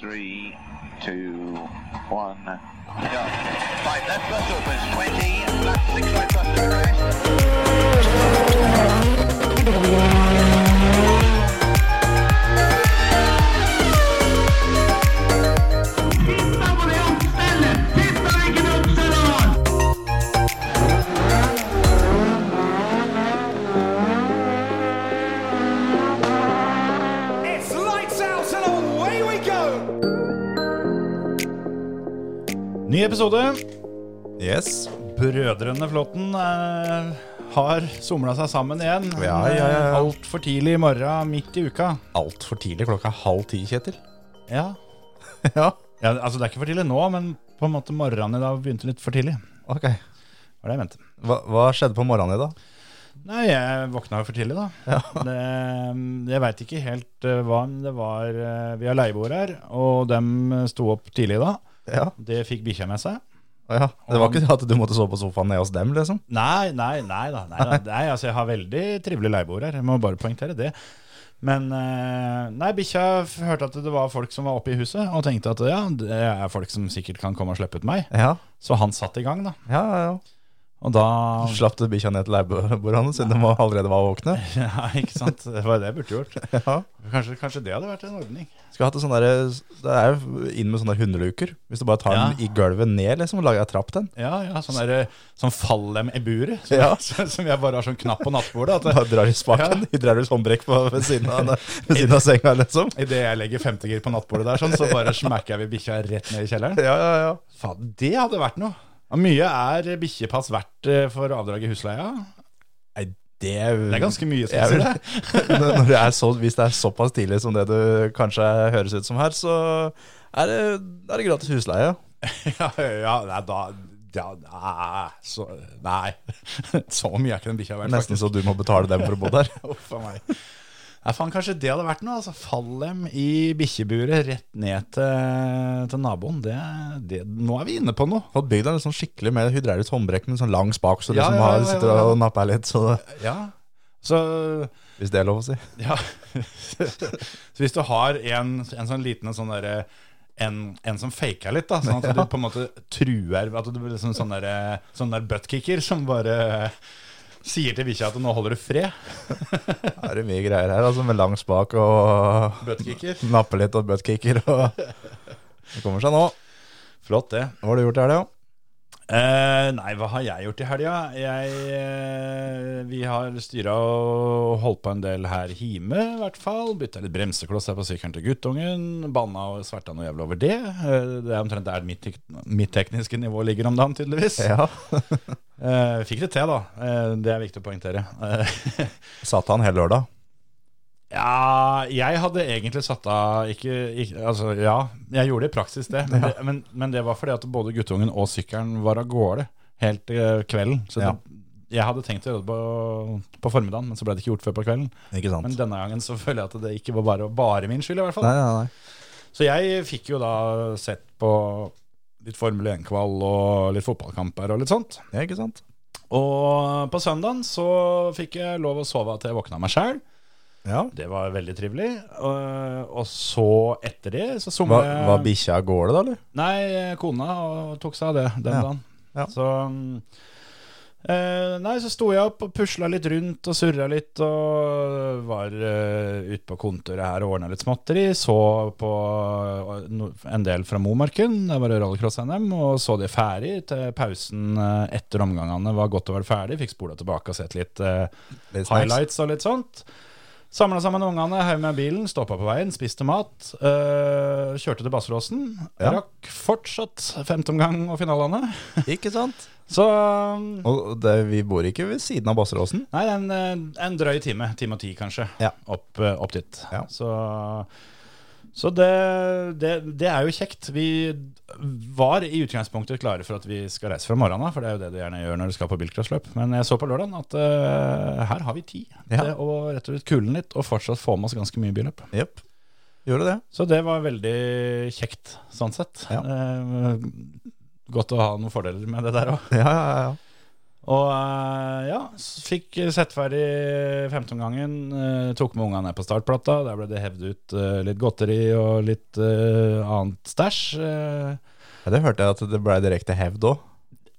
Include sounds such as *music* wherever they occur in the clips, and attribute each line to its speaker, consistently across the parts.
Speaker 1: three, two, one, go. Right, left bus opens 20, left six right bus to crest.
Speaker 2: It's lights out and away we go!
Speaker 3: Ny episode.
Speaker 4: Yes.
Speaker 3: Brødrene Flåtten eh, har somla seg sammen igjen.
Speaker 4: Ja, ja, ja, ja.
Speaker 3: Altfor tidlig i morgen, midt i uka.
Speaker 4: Altfor tidlig. Klokka er halv ti, Kjetil.
Speaker 3: Ja.
Speaker 4: ja.
Speaker 3: *laughs* ja. Altså, det er ikke for tidlig nå, men på en måte morgenen i dag begynte litt for tidlig.
Speaker 4: Ok.
Speaker 3: var det jeg mente.
Speaker 4: Hva, hva skjedde på morgenen i dag?
Speaker 3: Nei, jeg våkna jo for tidlig, da. *laughs* Det, eh, jeg veit ikke helt eh, hva men det var. eh, Vi har leieboere her, og dem eh, sto opp tidlig da.
Speaker 4: Ja.
Speaker 3: Det fikk bikkja med seg.
Speaker 4: Å ja. Det var ikke at du måtte sove på sofaen nede hos dem, liksom?
Speaker 3: Nei, nei, nei da. Nei, *laughs* da. Nei, altså, jeg har veldig trivelig leieboer her. Jeg må bare poengtere det. Men eh, nei, bikkja f- hørte at det var folk som var oppe i huset, og tenkte at ja, det er folk som sikkert kan komme og slippe ut meg.
Speaker 4: Ja.
Speaker 3: Så han satt i gang, da.
Speaker 4: Ja, ja, ja.
Speaker 3: Og *laughs* da
Speaker 4: Slapp du bikkja ned til leieboerne hans siden de var- allerede var våkne?
Speaker 3: Ja, ikke sant. Det var det jeg burde gjort.
Speaker 4: Ja.
Speaker 3: Kanskje, kanskje det hadde vært en ordning.
Speaker 4: Skulle hatt en sånn derre Det er jo inn med sånne hundeluker. Hvis du bare tar
Speaker 3: Ja.
Speaker 4: den i gulvet ned, liksom, og lager ei trapp til den.
Speaker 3: Ja, ja, sånn, der, sånn fallem i buret, som,
Speaker 4: Ja.
Speaker 3: *laughs* som jeg bare har sånn knapp på nattbordet. At *laughs*
Speaker 4: Bare drar i *laughs* spaken. Drar du håndbrekk på ved siden av, ved siden av senga, liksom.
Speaker 3: Idet jeg legger femtegir på nattbordet der, sånn, så bare smekker jeg bikkja rett ned i kjelleren.
Speaker 4: Ja, ja, ja.
Speaker 3: Faen, det hadde vært noe. Ja, mye er bikkjepass verdt eh, for avdrag i husleia.
Speaker 4: Nei, det er
Speaker 3: Det er ganske
Speaker 4: Jeg
Speaker 3: mye, skal
Speaker 4: vil-
Speaker 3: jeg si.
Speaker 4: *laughs* Når når det er så, hvis det er såpass tidlig som det du kanskje høres ut som her, så er det, er det gratis husleie.
Speaker 3: *laughs* Ja, ja, nei, da ja, nei, så, nei, *laughs* så mye er ikke den bikkja verdt,
Speaker 4: Nesten
Speaker 3: faktisk.
Speaker 4: så du må betale dem for å bo der.
Speaker 3: *laughs* Uff a meg. Nei, faen, kanskje det hadde vært noe. Altså, Fallem i bikkjeburet rett ned til, til naboen. Det, det, nå er vi inne på noe.
Speaker 4: *laughs* Fått bygd deg litt sånn skikkelig med hydraulisk håndbrekk med en sånn lang spak, så du
Speaker 3: Ja,
Speaker 4: liksom
Speaker 3: ja, ja,
Speaker 4: har,
Speaker 3: ja,
Speaker 4: sitter
Speaker 3: ja.
Speaker 4: og napper litt, så det,
Speaker 3: Ja, så
Speaker 4: hvis det er lov å *laughs* si.
Speaker 3: Ja. *laughs* så hvis du har en, en sånn liten en sånn derre en, en som faker litt, da, sånn at du på en måte truer At du blir liksom sånn der, sånn der buttkicker som bare sier til bikkja at nå holder du fred.
Speaker 4: Da er det mye greier her, altså, med lang spak og *laughs*
Speaker 3: Buttkicker.
Speaker 4: nappe litt og buttkicker og Det kommer seg nå.
Speaker 3: Flott, det.
Speaker 4: Hva har du gjort i helga?
Speaker 3: Eh, nei, hva har jeg gjort i helga? Jeg, eh, vi har styra og holdt på en del her hjemme, i hvert fall. Bytta litt bremsekloss her på sykkelen til guttungen. Banna og sverta noe jævlig over det. Eh, det er omtrent der mitt, tek- mitt tekniske nivå ligger om dagen, tydeligvis.
Speaker 4: Ja.
Speaker 3: Eh, fikk det til, da. Eh, det er viktig å poengtere. Eh,
Speaker 4: *laughs*
Speaker 3: *laughs*
Speaker 4: Satt han hele lørdag?
Speaker 3: ja, jeg hadde egentlig satt av ikke, ikke Altså, ja, jeg gjorde det i praksis, det. Men, det, men, men det var fordi at både guttungen og sykkelen var av gårde helt til kvelden. Så
Speaker 4: Ja.
Speaker 3: det, jeg hadde tenkt å gjøre det på, på formiddagen, men så ble det ikke gjort før på kvelden.
Speaker 4: Ikke sant?
Speaker 3: Men denne gangen så *laughs* føler jeg at det ikke var bare, bare min skyld, i hvert fall.
Speaker 4: Nei, nei, nei.
Speaker 3: Så jeg fikk jo da sett på litt Formel 1-kval og litt fotballkamper og litt sånt.
Speaker 4: Ja, ikke sant?
Speaker 3: Og på søndagen så fikk jeg lov å sove til jeg våkna meg sjæl.
Speaker 4: Ja.
Speaker 3: Det var veldig trivelig. Og, og så etter det så somla
Speaker 4: Var,
Speaker 3: jeg
Speaker 4: var bikkja av gårde, da, eller?
Speaker 3: Nei, eh, kona og tok seg av det den
Speaker 4: Ja.
Speaker 3: dagen.
Speaker 4: Ja.
Speaker 3: Så mm, eh, Nei, så sto jeg opp og pusla litt rundt og surra litt og var eh, ute på kontoret her og ordna litt småtteri. Så på eh, no- en del fra Momarken, der var det rallycross-NM, og så det ferdig til pausen eh, etter omgangene var godt og vel ferdig. Fikk spola tilbake og sett litt eh,
Speaker 4: Litt snacks.
Speaker 3: highlights og litt sånt. Samla sammen ungene, heiv med bilen, stoppa på veien, spiste mat. øh, kjørte til Basseråsen.
Speaker 4: Ja.
Speaker 3: Rakk fortsatt femteomgang og finalene.
Speaker 4: Ikke sant?
Speaker 3: Så øh,
Speaker 4: Og det, vi bor ikke ved siden av Basseråsen.
Speaker 3: Nei, en, øh, en drøy time. Time og ti, kanskje.
Speaker 4: Ja.
Speaker 3: Opp, øh, opp dit.
Speaker 4: Ja.
Speaker 3: Så, så det, det, det er jo kjekt. Vi var i utgangspunktet klare for at vi skal reise fra morgenen av, for det er jo det du gjerne gjør når du skal på bilcrossløp. Men jeg så på lørdagen at øh, her har vi tid
Speaker 4: Ja.
Speaker 3: til å rett og slett kule litt og fortsatt få med oss ganske mye billøp.
Speaker 4: Jepp. Gjorde det.
Speaker 3: Så det var veldig kjekt, sånn sett.
Speaker 4: Ja.
Speaker 3: Eh, godt å ha noen fordeler med det der òg.
Speaker 4: Ja, ja, ja.
Speaker 3: Og eh, ja, s- fikk sett ferdig 15-gangen. eh, tok med ungene ned på startplata. Der ble det hevd ut eh, litt godteri og litt eh, annet stæsj. eh.
Speaker 4: Ja, det hørte jeg at det ble direkte hevd òg.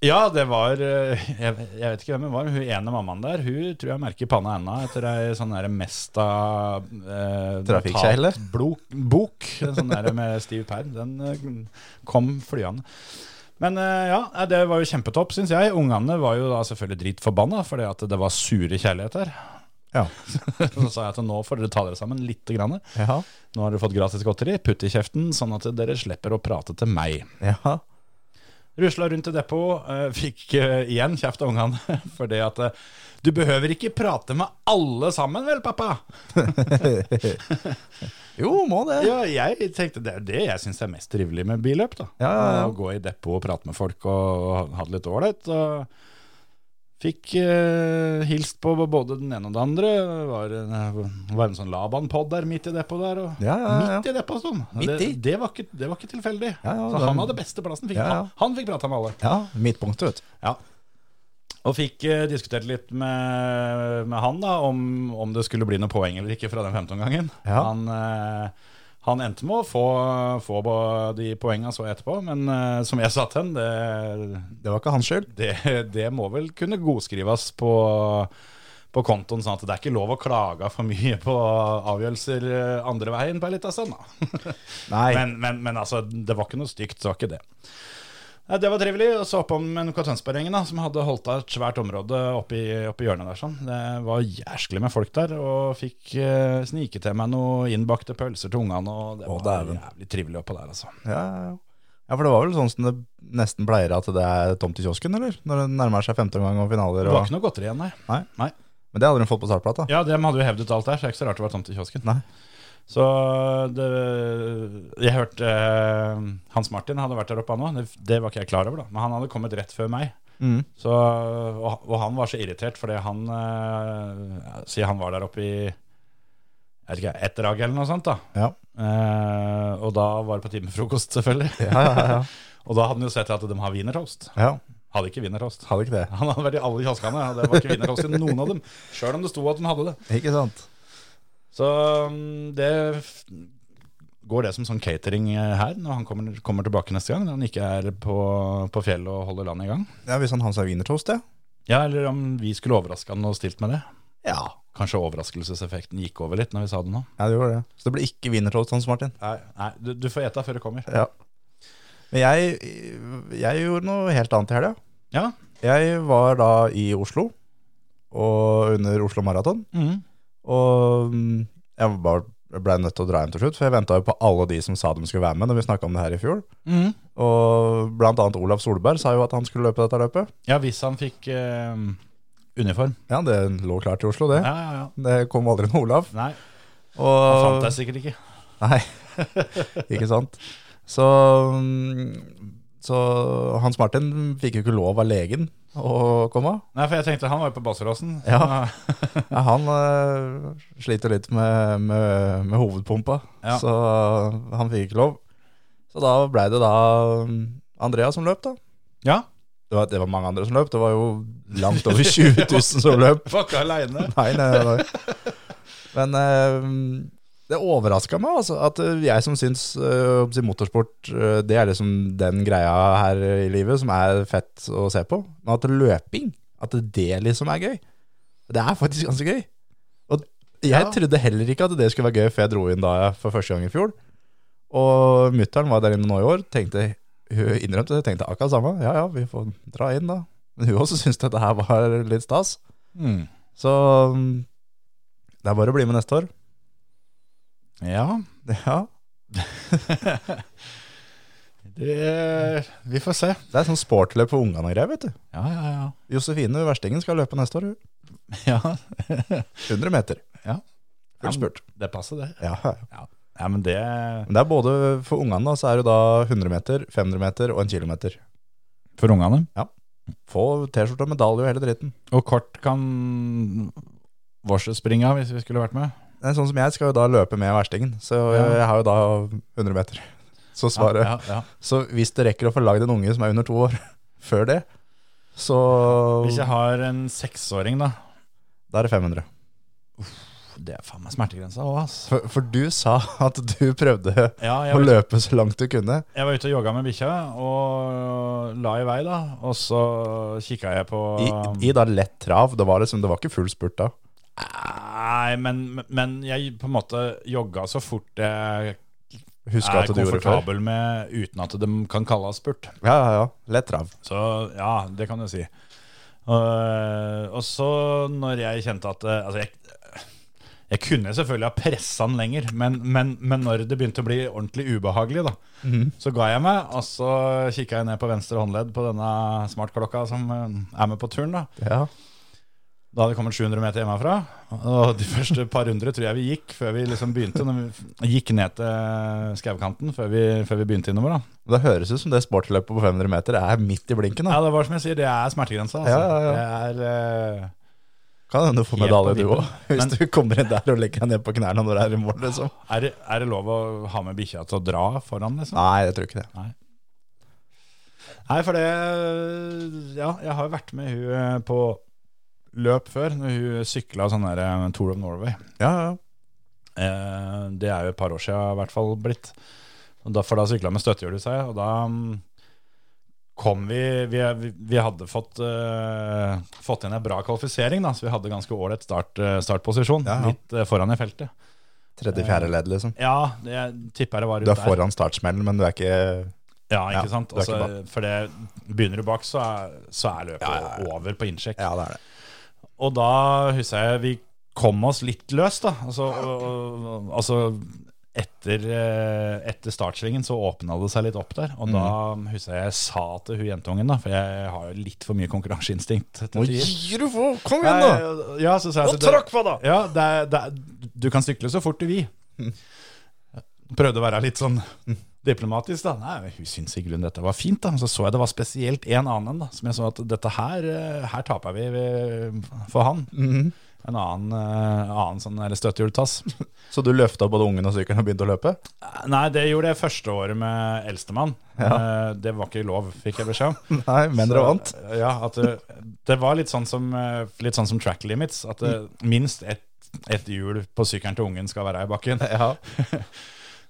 Speaker 3: ja, det var eh, jeg, jeg vet ikke hvem det var, men hun ene mammaen der Hun tror jeg merker panna ennå etter ei sånn der Mesta eh,
Speaker 4: Trafikkjegle.
Speaker 3: blo- bok. En sånn der med stiv perm. Den eh, kom flyende. Men eh, ja, nei, det var jo kjempetopp, syns jeg. Ungene var jo da selvfølgelig dritforbanna fordi at det var sure kjærligheter.
Speaker 4: Ja.
Speaker 3: *laughs* Så sa jeg at nå får dere ta dere sammen lite grann.
Speaker 4: Ja.
Speaker 3: Nå har dere fått gratis godteri, putt i kjeften, sånn at dere slipper å prate til meg.
Speaker 4: ja. *laughs*
Speaker 3: Rusla rundt til depot, eh, fikk eh, igjen kjeft av ungene *laughs* fordi at eh, Du behøver ikke prate med alle sammen, vel, pappa?
Speaker 4: Jo, må det.
Speaker 3: Ja, jeg tenkte Det er det jeg syns er mest trivelig med billøp. da
Speaker 4: Ja, ja, ja.
Speaker 3: Å gå i depot og prate med folk og ha det litt ålreit. og Fikk eh, hilst på både den ene og den andre. Det var en, var en sånn Laban-pod der midt i depot der. Og
Speaker 4: Ja, ja, ja.
Speaker 3: Midt i depot sto han!
Speaker 4: Midt
Speaker 3: Det,
Speaker 4: i?
Speaker 3: det, var ikke- det var ikke tilfeldig.
Speaker 4: Ja, ja,
Speaker 3: Så
Speaker 4: den-
Speaker 3: han hadde beste plassen. Fikk,
Speaker 4: Ja, ja.
Speaker 3: Han, han fikk prata med alle.
Speaker 4: Ja, midtpunktet, vet du.
Speaker 3: Ja. Og fikk eh, diskutert litt med, med han da, om, om det skulle bli noe poeng eller ikke fra den 15-gangen.
Speaker 4: Ja.
Speaker 3: Han, eh, han endte med å få, få på de poengene så etterpå, men eh, som jeg sa til han,
Speaker 4: Det var ikke hans skyld.
Speaker 3: det, det, det må vel kunne godskrives på, på kontoen, sånn at det er ikke lov å klage for mye på avgjørelser eh, andre veien på en liten stund. da.
Speaker 4: Nei.
Speaker 3: Men, men, men altså, det var ikke noe stygt, det var ikke det. Nei, det var trivelig. Og så oppom NK Tønsberg-gjengen, da, som hadde holdt av et svært område oppi, oppi hjørnet der. sånn. Det var jæsklig med folk der, og fikk eh, snike til meg noe innbakte pølser til ungene. Og det
Speaker 4: Å,
Speaker 3: var
Speaker 4: dæven.
Speaker 3: jævlig trivelig oppå der, altså.
Speaker 4: Ja, ja, ja. ja, for det var vel sånn som det nesten pleier at det er tomt i kiosken, eller? Når det nærmer seg 15 gang og finaler.
Speaker 3: Det var
Speaker 4: Og...
Speaker 3: ikke noe godteri igjen, nei.
Speaker 4: Nei.
Speaker 3: Nei.
Speaker 4: Men det hadde hun fått på startplata.
Speaker 3: Ja, dem hadde jo hevdet alt der, så det er ikke så rart det var tomt i kiosken.
Speaker 4: Nei.
Speaker 3: Så det, jeg hørte eh, Hans Martin hadde vært der oppe han òg. Det, det var ikke jeg klar over, da. Men han hadde kommet rett før meg.
Speaker 4: Mm.
Speaker 3: Så, og, og han var så irritert fordi han eh, Si han var der oppe i Jeg vet ikke, ett drag eller noe sånt. da
Speaker 4: Ja.
Speaker 3: Eh, Og da var det på tide med frokost, selvfølgelig.
Speaker 4: Ja, ja, ja.
Speaker 3: *laughs* Og da hadde han jo sett at de har wienertoast.
Speaker 4: *laughs* ja.
Speaker 3: Hadde ikke wienertoast.
Speaker 4: Hadde ikke det.
Speaker 3: *laughs* Han hadde vært i alle kioskene, og det var ikke wienertoast i noen av dem. Sjøl om det sto at de hadde det.
Speaker 4: Ikke sant?
Speaker 3: Så mm, det f- går det som sånn catering eh, her når han kommer, kommer tilbake neste gang. Når han ikke er på, på fjellet og holder landet i gang.
Speaker 4: Ja, Hvis han har seg wienertoast, ja.
Speaker 3: Ja, eller om vi skulle overraske han og stilt med det.
Speaker 4: Ja.
Speaker 3: Kanskje overraskelseseffekten gikk over litt når vi sa det nå.
Speaker 4: ja, det gjorde det. Så det ble ikke wienertoast, Hans Martin.
Speaker 3: Nei, du, du får gjette før det kommer.
Speaker 4: Ja. Men jeg, jeg gjorde noe helt annet i helga.
Speaker 3: Ja.
Speaker 4: Jeg var da i Oslo, og under Oslo Maraton.
Speaker 3: mm.
Speaker 4: Og mm, jeg bare ble nødt til å dra hjem til slutt, for jeg venta jo på alle de som sa de skulle være med når vi snakka om det her i fjor.
Speaker 3: Mhm.
Speaker 4: Og blant annet Olav Solberg sa jo at han skulle løpe dette løpet.
Speaker 3: Ja, hvis han fikk eh, uniform.
Speaker 4: Ja, det lå klart i Oslo, det.
Speaker 3: Ja, ja, ja.
Speaker 4: Det kom aldri noe Olav.
Speaker 3: Nei, han
Speaker 4: Og,
Speaker 3: fant deg sikkert ikke.
Speaker 4: Nei, ikke sant. Så, mm, så Hans Martin fikk jo ikke lov av legen å komme.
Speaker 3: Nei, for jeg tenkte han var jo på Basseråsen.
Speaker 4: Ja. Ja, han eh, sliter litt med, med, med hovedpumpa,
Speaker 3: Ja.
Speaker 4: så han fikk ikke lov. Så da ble det da mm, Andrea som løp, da.
Speaker 3: ja.
Speaker 4: Det var, det var mange andre som løp. Det var jo langt over *laughs* 20 000 som løp.
Speaker 3: Var ikke aleine.
Speaker 4: *laughs* Nei, nei, nei, nei. Men eh, det overraska meg, altså. At eh, jeg som syns eh, å si motorsport, eh, det er liksom den greia her i livet som er fett å se på. Men at løping, at det liksom er gøy. Det er faktisk ganske gøy. Og jeg
Speaker 3: Ja.
Speaker 4: trodde heller ikke at det skulle være gøy før jeg dro inn da for første gang i fjor. Og mutter'n var der inne nå i år, tenkte hun innrømte det, tenkte akkurat samme. Ja ja, vi får dra inn, da. Men hun også syntes dette her var litt stas. Så mm, det er bare å bli med neste år.
Speaker 3: Ja.
Speaker 4: Ja,
Speaker 3: *laughs* Det, vi får se.
Speaker 4: Det er sånn sportløp for ungene og greier, vet du.
Speaker 3: Ja, ja, ja.
Speaker 4: Josefine Verstingen skal løpe neste år, hun.
Speaker 3: ja.
Speaker 4: 100 meter.
Speaker 3: Ja.
Speaker 4: Fullt spurt.
Speaker 3: Det passer, det.
Speaker 4: Ja. ja.
Speaker 3: Ja, ja men det
Speaker 4: Men det er både for ungene, da, så er det da 100 meter, 500 meter og en kilometer.
Speaker 3: For ungene.
Speaker 4: Få T-skjorte og medalje og hele dritten.
Speaker 3: Og kort kan Vårse springe av hvis vi skulle vært med.
Speaker 4: Nei, sånn som jeg skal jo da løpe med Verstingen, så jeg,
Speaker 3: Ja.
Speaker 4: jeg har jo da 100 meter. Så svaret
Speaker 3: Ja, ja, ja.
Speaker 4: Så hvis det rekker å få lagd en unge som er under to år *laughs* før det, Så
Speaker 3: Hvis jeg har en seksåring, da
Speaker 4: da er det 500.
Speaker 3: Det er faen meg smertegrensa òg, ass.
Speaker 4: For, for du sa at du prøvde
Speaker 3: Ja, jeg
Speaker 4: å
Speaker 3: var,
Speaker 4: løpe så langt du kunne.
Speaker 3: jeg var ute og jogga med bikkja, og la i vei, da. Og så kikka jeg på
Speaker 4: I, i da lett trav. Det var, liksom, det var ikke full spurt da.
Speaker 3: Nei, men, men jeg på en måte jogga så fort jeg
Speaker 4: Husk
Speaker 3: er
Speaker 4: at du gjorde det før.
Speaker 3: komfortabel med, uten at de kan kalles spurt.
Speaker 4: Ja, ja, ja. Lett trav.
Speaker 3: Så ja, det kan du si. Eh, og så når jeg kjente at eh, Altså, jeg, jeg kunne selvfølgelig ha pressa den lenger, men, men, men når det begynte å bli ordentlig ubehagelig, da,
Speaker 4: Mhm.
Speaker 3: så ga jeg meg. Og så kikka jeg ned på venstre håndledd på denne smartklokka som eh, er med på turen. Da
Speaker 4: Ja.
Speaker 3: Da hadde det kommet 700 meter hjemmefra. Og de første par hundre tror jeg vi gikk før vi liksom begynte. Når vi gikk ned til skaukanten før, vi- før vi begynte innover. da
Speaker 4: Det høres ut som det sportsløpet på 500 meter er midt i blinken. da.
Speaker 3: Ja, det var som jeg sier, det er smertegrensa. Altså.
Speaker 4: Ja, ja,
Speaker 3: Det er eh,
Speaker 4: Kan hende du får
Speaker 3: Helt
Speaker 4: medalje
Speaker 3: på
Speaker 4: du
Speaker 3: vippen.
Speaker 4: òg, *laughs* hvis
Speaker 3: Men-
Speaker 4: du kommer inn der og legger deg ned på knærne når du er i mål. liksom.
Speaker 3: Er det, er det lov å ha med bikkja til å dra foran, liksom?
Speaker 4: Nei, jeg tror ikke det.
Speaker 3: Nei, for det Ja, jeg har vært med hun eh, på løp før, når hun sykla sånn der eh, Tour of Norway.
Speaker 4: Ja, ja.
Speaker 3: Eh, det er jo et par år siden i hvert fall blitt. Og da, for da sykla med støttehjul i seg, og da mm, kom vi Vi, vi, vi hadde fått, eh, fått inn en bra kvalifisering, da, så vi hadde ganske ålreit start, eh, startposisjon.
Speaker 4: Ja, ja.
Speaker 3: Litt eh, foran i feltet.
Speaker 4: Tredje-fjerde ledd, liksom.
Speaker 3: Ja, det, jeg tipper det var
Speaker 4: Du
Speaker 3: ut
Speaker 4: er
Speaker 3: der.
Speaker 4: foran startsmellen, men du er ikke
Speaker 3: Ja, ikke
Speaker 4: Ja,
Speaker 3: sant?
Speaker 4: det er ikke
Speaker 3: Altså, for det, begynner du bak, så er, så er løpet
Speaker 4: Ja, ja, ja.
Speaker 3: over på innsjekk.
Speaker 4: Ja, det er det.
Speaker 3: Og da husker jeg vi kom oss litt løs, da. Altså, og, og, altså etter, eh, etter startsvingen så åpna det seg litt opp der. Og da
Speaker 4: Mm.
Speaker 3: husker jeg jeg sa til hun jentungen, da, for jeg har jo litt for mye konkurranseinstinkt. til
Speaker 4: Nå
Speaker 3: tider.
Speaker 4: gir du på! Kom igjen, da!
Speaker 3: Nei, ja, så sa jeg
Speaker 4: Nå
Speaker 3: til det-
Speaker 4: tråkk på, da!
Speaker 3: Ja, det er, det er, du kan sykle så fort du vil. Prøvde å være litt sånn diplomatisk, da. Nei, men hun syntes i grunnen dette var fint, da. Men så så jeg det var spesielt en annen, da, som jeg så at dette her, eh, her taper vi ved- for han.
Speaker 4: Mhm.
Speaker 3: En annen, eh, annen sånn der støttehjultass.
Speaker 4: Så du løfta både ungen og sykkelen og begynte å løpe?
Speaker 3: Nei, det gjorde jeg første året med eldstemann. Eh, Det var ikke lov, fikk jeg beskjed om.
Speaker 4: Nei, men dere
Speaker 3: Så,
Speaker 4: vant.
Speaker 3: Ja, at det, det var litt sånn som, eh, litt sånn som track limits. At det, minst ett et hjul på sykkelen til ungen skal være i bakken.
Speaker 4: Ja.
Speaker 3: *laughs*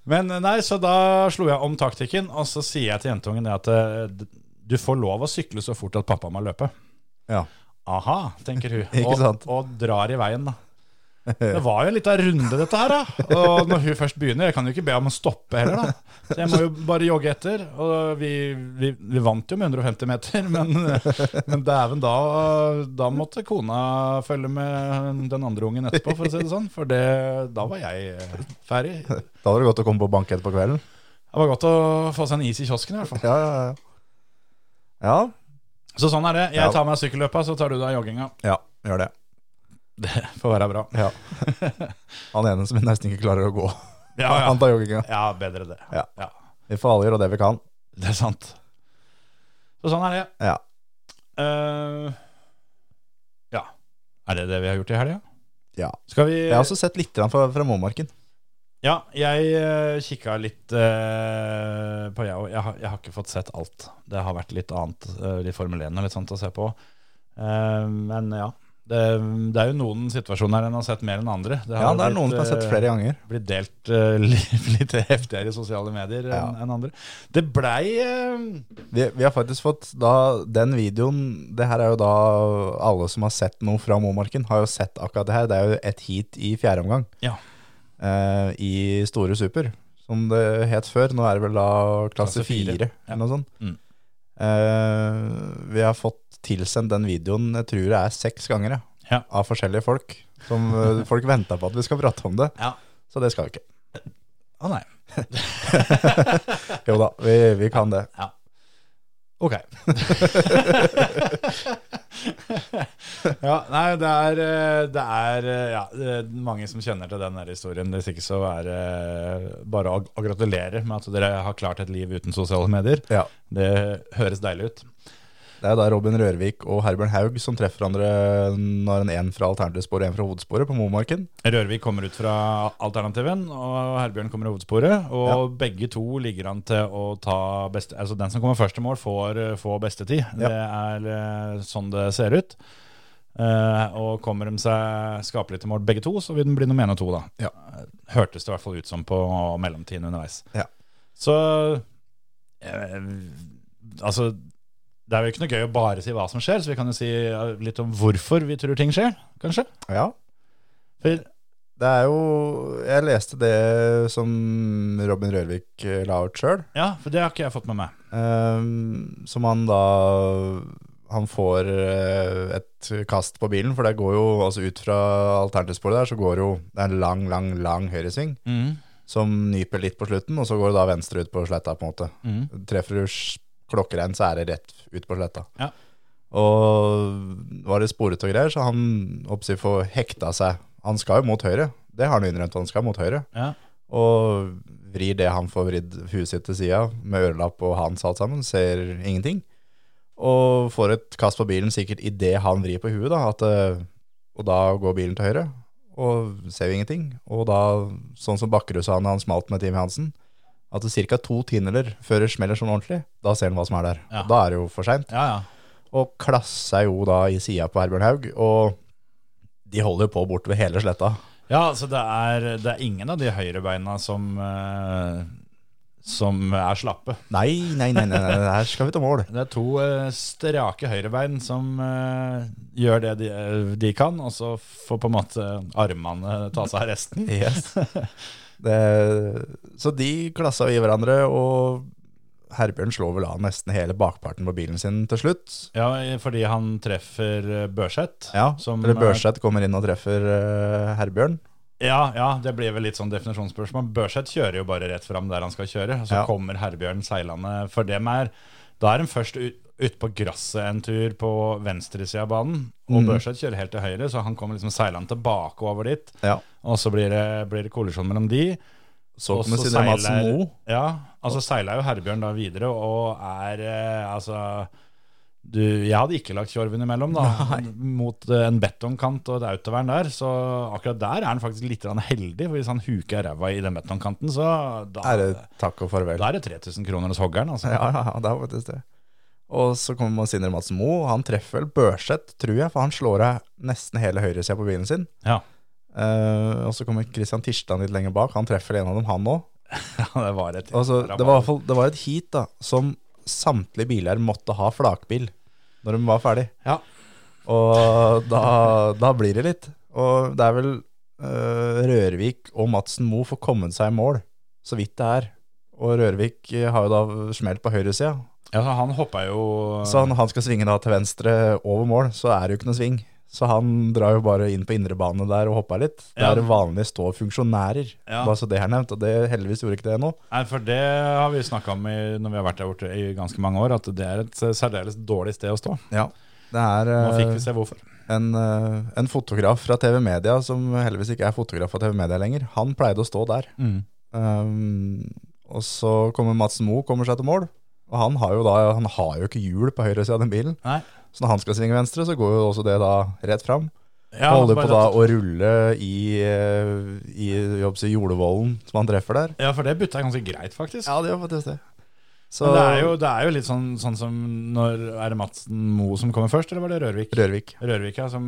Speaker 3: Men eh, nei, så da slo jeg om taktikken, og så sier jeg til jentungen det at eh, d- du får lov å sykle så fort at pappa må løpe.
Speaker 4: ja.
Speaker 3: Aha, tenker hun.
Speaker 4: *laughs* Ikke
Speaker 3: og,
Speaker 4: sant?
Speaker 3: og drar i veien, da. Det var jo litt av runde, dette her. da Og når hun først begynner, jeg kan jo ikke be om å stoppe heller, da. Så jeg må jo bare jogge etter. Og vi, vi, vi vant jo med 150 meter, men, *laughs* men dæven, da, da måtte kona følge med den andre ungen etterpå, for å si det sånn. For det, da var jeg eh, ferdig.
Speaker 4: Da var det godt å komme på bank etterpå kvelden.
Speaker 3: Det var godt å få seg en is i kiosken, i hvert fall.
Speaker 4: *laughs* Ja, ja, ja. Ja,
Speaker 3: Så sånn er det.
Speaker 4: Ja.
Speaker 3: Jeg tar meg sykkelløpa, så tar du deg jogginga.
Speaker 4: ja gjør det.
Speaker 3: Det får være bra.
Speaker 4: Ja. Han ene som nesten ikke klarer å gå.
Speaker 3: Ja,
Speaker 4: Han
Speaker 3: ja.
Speaker 4: tar jogginga.
Speaker 3: ja bedre det.
Speaker 4: Ja.
Speaker 3: ja.
Speaker 4: Vi får alle gjøre det vi kan.
Speaker 3: Det er sant. Så sånn er det.
Speaker 4: Ja.
Speaker 3: Eh, ja. Er det det vi har gjort i helga?
Speaker 4: Ja.
Speaker 3: Skal vi
Speaker 4: Jeg har også sett litt grann fra, fra Momarken.
Speaker 3: Ja, jeg uh, kikka litt eh, på jeg òg. Jeg, har- jeg har ikke fått sett alt. Det har vært litt annet, eh, litt Formel 1 og litt sånt å se på. Eh, men ja. Det, det er jo noen situasjoner her en har sett mer enn andre. Det
Speaker 4: Ja,
Speaker 3: jo
Speaker 4: det er noen som
Speaker 3: blitt,
Speaker 4: har sett
Speaker 3: eh,
Speaker 4: flere ganger.
Speaker 3: blitt delt eh, *laughs* litt, litt heftigere i sosiale medier
Speaker 4: Ja.
Speaker 3: enn enn andre. Det blei eh,
Speaker 4: Vi, vi har faktisk fått da den videoen Det her er jo da alle som har sett noe fra Momarken, har jo sett akkurat det her. Det er jo et heat i fjerde omgang
Speaker 3: Ja.
Speaker 4: eh, i Store Super, som det het før. Nå er det vel da klasse
Speaker 3: Klasse fire.
Speaker 4: fire,
Speaker 3: Ja.
Speaker 4: eller noe sånt.
Speaker 3: Mm.
Speaker 4: Eh, vi har fått tilsendt den videoen, jeg tror det er seks ganger,
Speaker 3: Ja.
Speaker 4: av forskjellige folk. Som eh,
Speaker 3: *laughs*
Speaker 4: folk venta på at vi skal prate om det,
Speaker 3: Ja.
Speaker 4: så det skal vi ikke.
Speaker 3: Å nei.
Speaker 4: Jo da, vi, vi kan det.
Speaker 3: Ok. ja, nei, det er, eh, det er eh, ja, det er mange som kjenner til den her historien. Hvis ikke så er det eh, bare å, å gratulere med at dere har klart et liv uten sosiale medier.
Speaker 4: Ja.
Speaker 3: Det høres deilig ut.
Speaker 4: Det er da Robin Rørvik og Herbjørn Haug som treffer hverandre når en en fra alternativsporet og en fra hovedsporet på Momarken.
Speaker 3: Rørvik kommer ut fra alternativen, og Herbjørn kommer i hovedsporet. Og begge to ligger an til å ta beste Altså den som kommer først til mål, får, eh, får beste tid.
Speaker 4: Ja.
Speaker 3: Det er eh, sånn det ser ut. Eh, og kommer de seg skapelig til mål begge to, så vil den bli nummer én og to, da.
Speaker 4: Ja.
Speaker 3: Hørtes det i hvert fall ut som på mellomtiden underveis.
Speaker 4: Ja.
Speaker 3: Så eh, Altså, det er jo ikke noe gøy å bare si hva som skjer, så vi kan jo si eh, litt om hvorfor vi tror ting skjer, kanskje.
Speaker 4: Ja,
Speaker 3: For
Speaker 4: det er jo Jeg leste det som Robin Rørvik eh, la ut sjøl.
Speaker 3: Ja, for det har ikke jeg fått med meg.
Speaker 4: Ehm, som han da Han får eh, et kast på bilen, for det går jo altså ut fra alternativsporet der, så går jo det er en lang, lang, lang høyresving
Speaker 3: Mm.
Speaker 4: som nyper litt på slutten, og så går det da venstre ut på sletta, på en måte. Treffer du s- klokkerein, så er det rett ut på sletta.
Speaker 3: Ja.
Speaker 4: Og var det sporet og greier, så han oppsi får hekta seg. Han skal jo mot høyre, det har han innrømt, han skal mot høyre
Speaker 3: Ja.
Speaker 4: og vrir det han får vridd huet sitt til sida, med ørelapp og hans alt sammen, ser ingenting. Og får et kast på bilen sikkert idet han vrir på huet, da, at, eh, og da går bilen til høyre, og ser vi ingenting. Og da, sånn som Bakkerud sa når han smalt med Team Hansen, at ca. to tiendeler før det smeller sånn ordentlig, da ser han hva som er der.
Speaker 3: Ja.
Speaker 4: Da er det jo for seint
Speaker 3: ja, ja.
Speaker 4: og klassa jo da i sida på Herbjørn Haug. Og de holder jo på bortover hele sletta.
Speaker 3: Ja, altså det er, det er ingen av de høyrebeina som, eh, som er slappe.
Speaker 4: Nei, nei, nei, nei, nei, her skal vi til mål.
Speaker 3: Det er to eh, strake høyrebein som eh, gjør det de, eh, de kan, og så får på en måte armene ta seg av resten.
Speaker 4: Yes. Det, så de klassa i hverandre, og Herbjørn slår vel av nesten hele bakparten på bilen sin til slutt.
Speaker 3: Ja, fordi han treffer eh, Børseth.
Speaker 4: Ja,
Speaker 3: som,
Speaker 4: Eller
Speaker 3: eh,
Speaker 4: Børseth kommer inn og treffer eh, Herbjørn.
Speaker 3: Ja, ja, det blir vel litt sånn definisjonsspørsmål. Børseth kjører jo bare rett fram der han skal kjøre, og så
Speaker 4: Ja.
Speaker 3: kommer Herbjørn seilende. For dem er Da er de først ut- ute på gresset en tur på venstresida av banen, og Børseth kjører helt til høyre, så han kommer liksom seilende tilbake over dit.
Speaker 4: Ja.
Speaker 3: Og så blir det, blir det kollisjon mellom de.
Speaker 4: Så
Speaker 3: og
Speaker 4: kommer Sindre Madsen Moe.
Speaker 3: Ja, altså seiler jo Herbjørn da videre, og er eh, altså du, jeg hadde ikke lagt kjorven imellom,
Speaker 4: *laughs*
Speaker 3: da. Mot eh, en betongkant og et autovern der. Så akkurat der er han faktisk litt grann heldig, for hvis han huker ræva i den betongkanten, så da
Speaker 4: Er det takk og farvel?
Speaker 3: da er det 3000 kroner hos hoggeren, altså.
Speaker 4: *laughs* Ja, ja, ja, det er faktisk det. Og så kommer Sindre Madsen Moe. og Han treffer vel Børseth, tror jeg, for han slår av nesten hele høyresida på bilen sin.
Speaker 3: Ja.
Speaker 4: Eh, og så kommer Christian Tirstan litt lenger bak. Han treffer en av dem, han òg.
Speaker 3: *laughs* Ja, det var et
Speaker 4: Altså, det, var i hvert fall- det var et heat da, som samtlige biler måtte ha flakbil når de var ferdig.
Speaker 3: Ja.
Speaker 4: Og da, da blir det litt. Og det er vel eh, Rørvik og Madsen Moe får kommet seg i mål, så vidt det er. Og Rørvik eh, har jo da smelt på høyresida.
Speaker 3: Ja, så han hoppa jo
Speaker 4: Så når han skal svinge da til venstre over mål, så er det jo ikke noe sving. Så han drar jo bare inn på indrebane der og hopper litt.
Speaker 3: Ja.
Speaker 4: Der vanlig står funksjonærer,
Speaker 3: Ja.
Speaker 4: bare så det er nevnt. Og det heldigvis gjorde ikke det nå.
Speaker 3: Nei, for det har vi snakka om i, når vi har vært der borte i ganske mange år, at det er et særdeles dårlig sted å stå.
Speaker 4: Ja. Det er
Speaker 3: Nå
Speaker 4: eh,
Speaker 3: fikk vi se hvorfor.
Speaker 4: en, eh, en fotograf fra TV Media, som heldigvis ikke er fotograf fra TV Media lenger, han pleide å stå der.
Speaker 3: Mm.
Speaker 4: Um, og så kommer Madsen Moe, kommer seg til mål. Og han har jo da Han har jo ikke hjul på høyresida av den bilen.
Speaker 3: Nei.
Speaker 4: Så når han skal svinge venstre, så går jo også det da rett fram.
Speaker 3: Ja,
Speaker 4: holder
Speaker 3: bare
Speaker 4: på da
Speaker 3: at-
Speaker 4: å rulle i, eh, i jobb, så jordevollen som han treffer der.
Speaker 3: Ja, for det butta ganske greit, faktisk.
Speaker 4: det gjør faktisk det. Så
Speaker 3: Men det er jo, det er jo litt sånn, sånn som når Er det Madsen Moe som kommer først, eller var det Rørvik?
Speaker 4: Rørvik.
Speaker 3: Rørvik, ja, som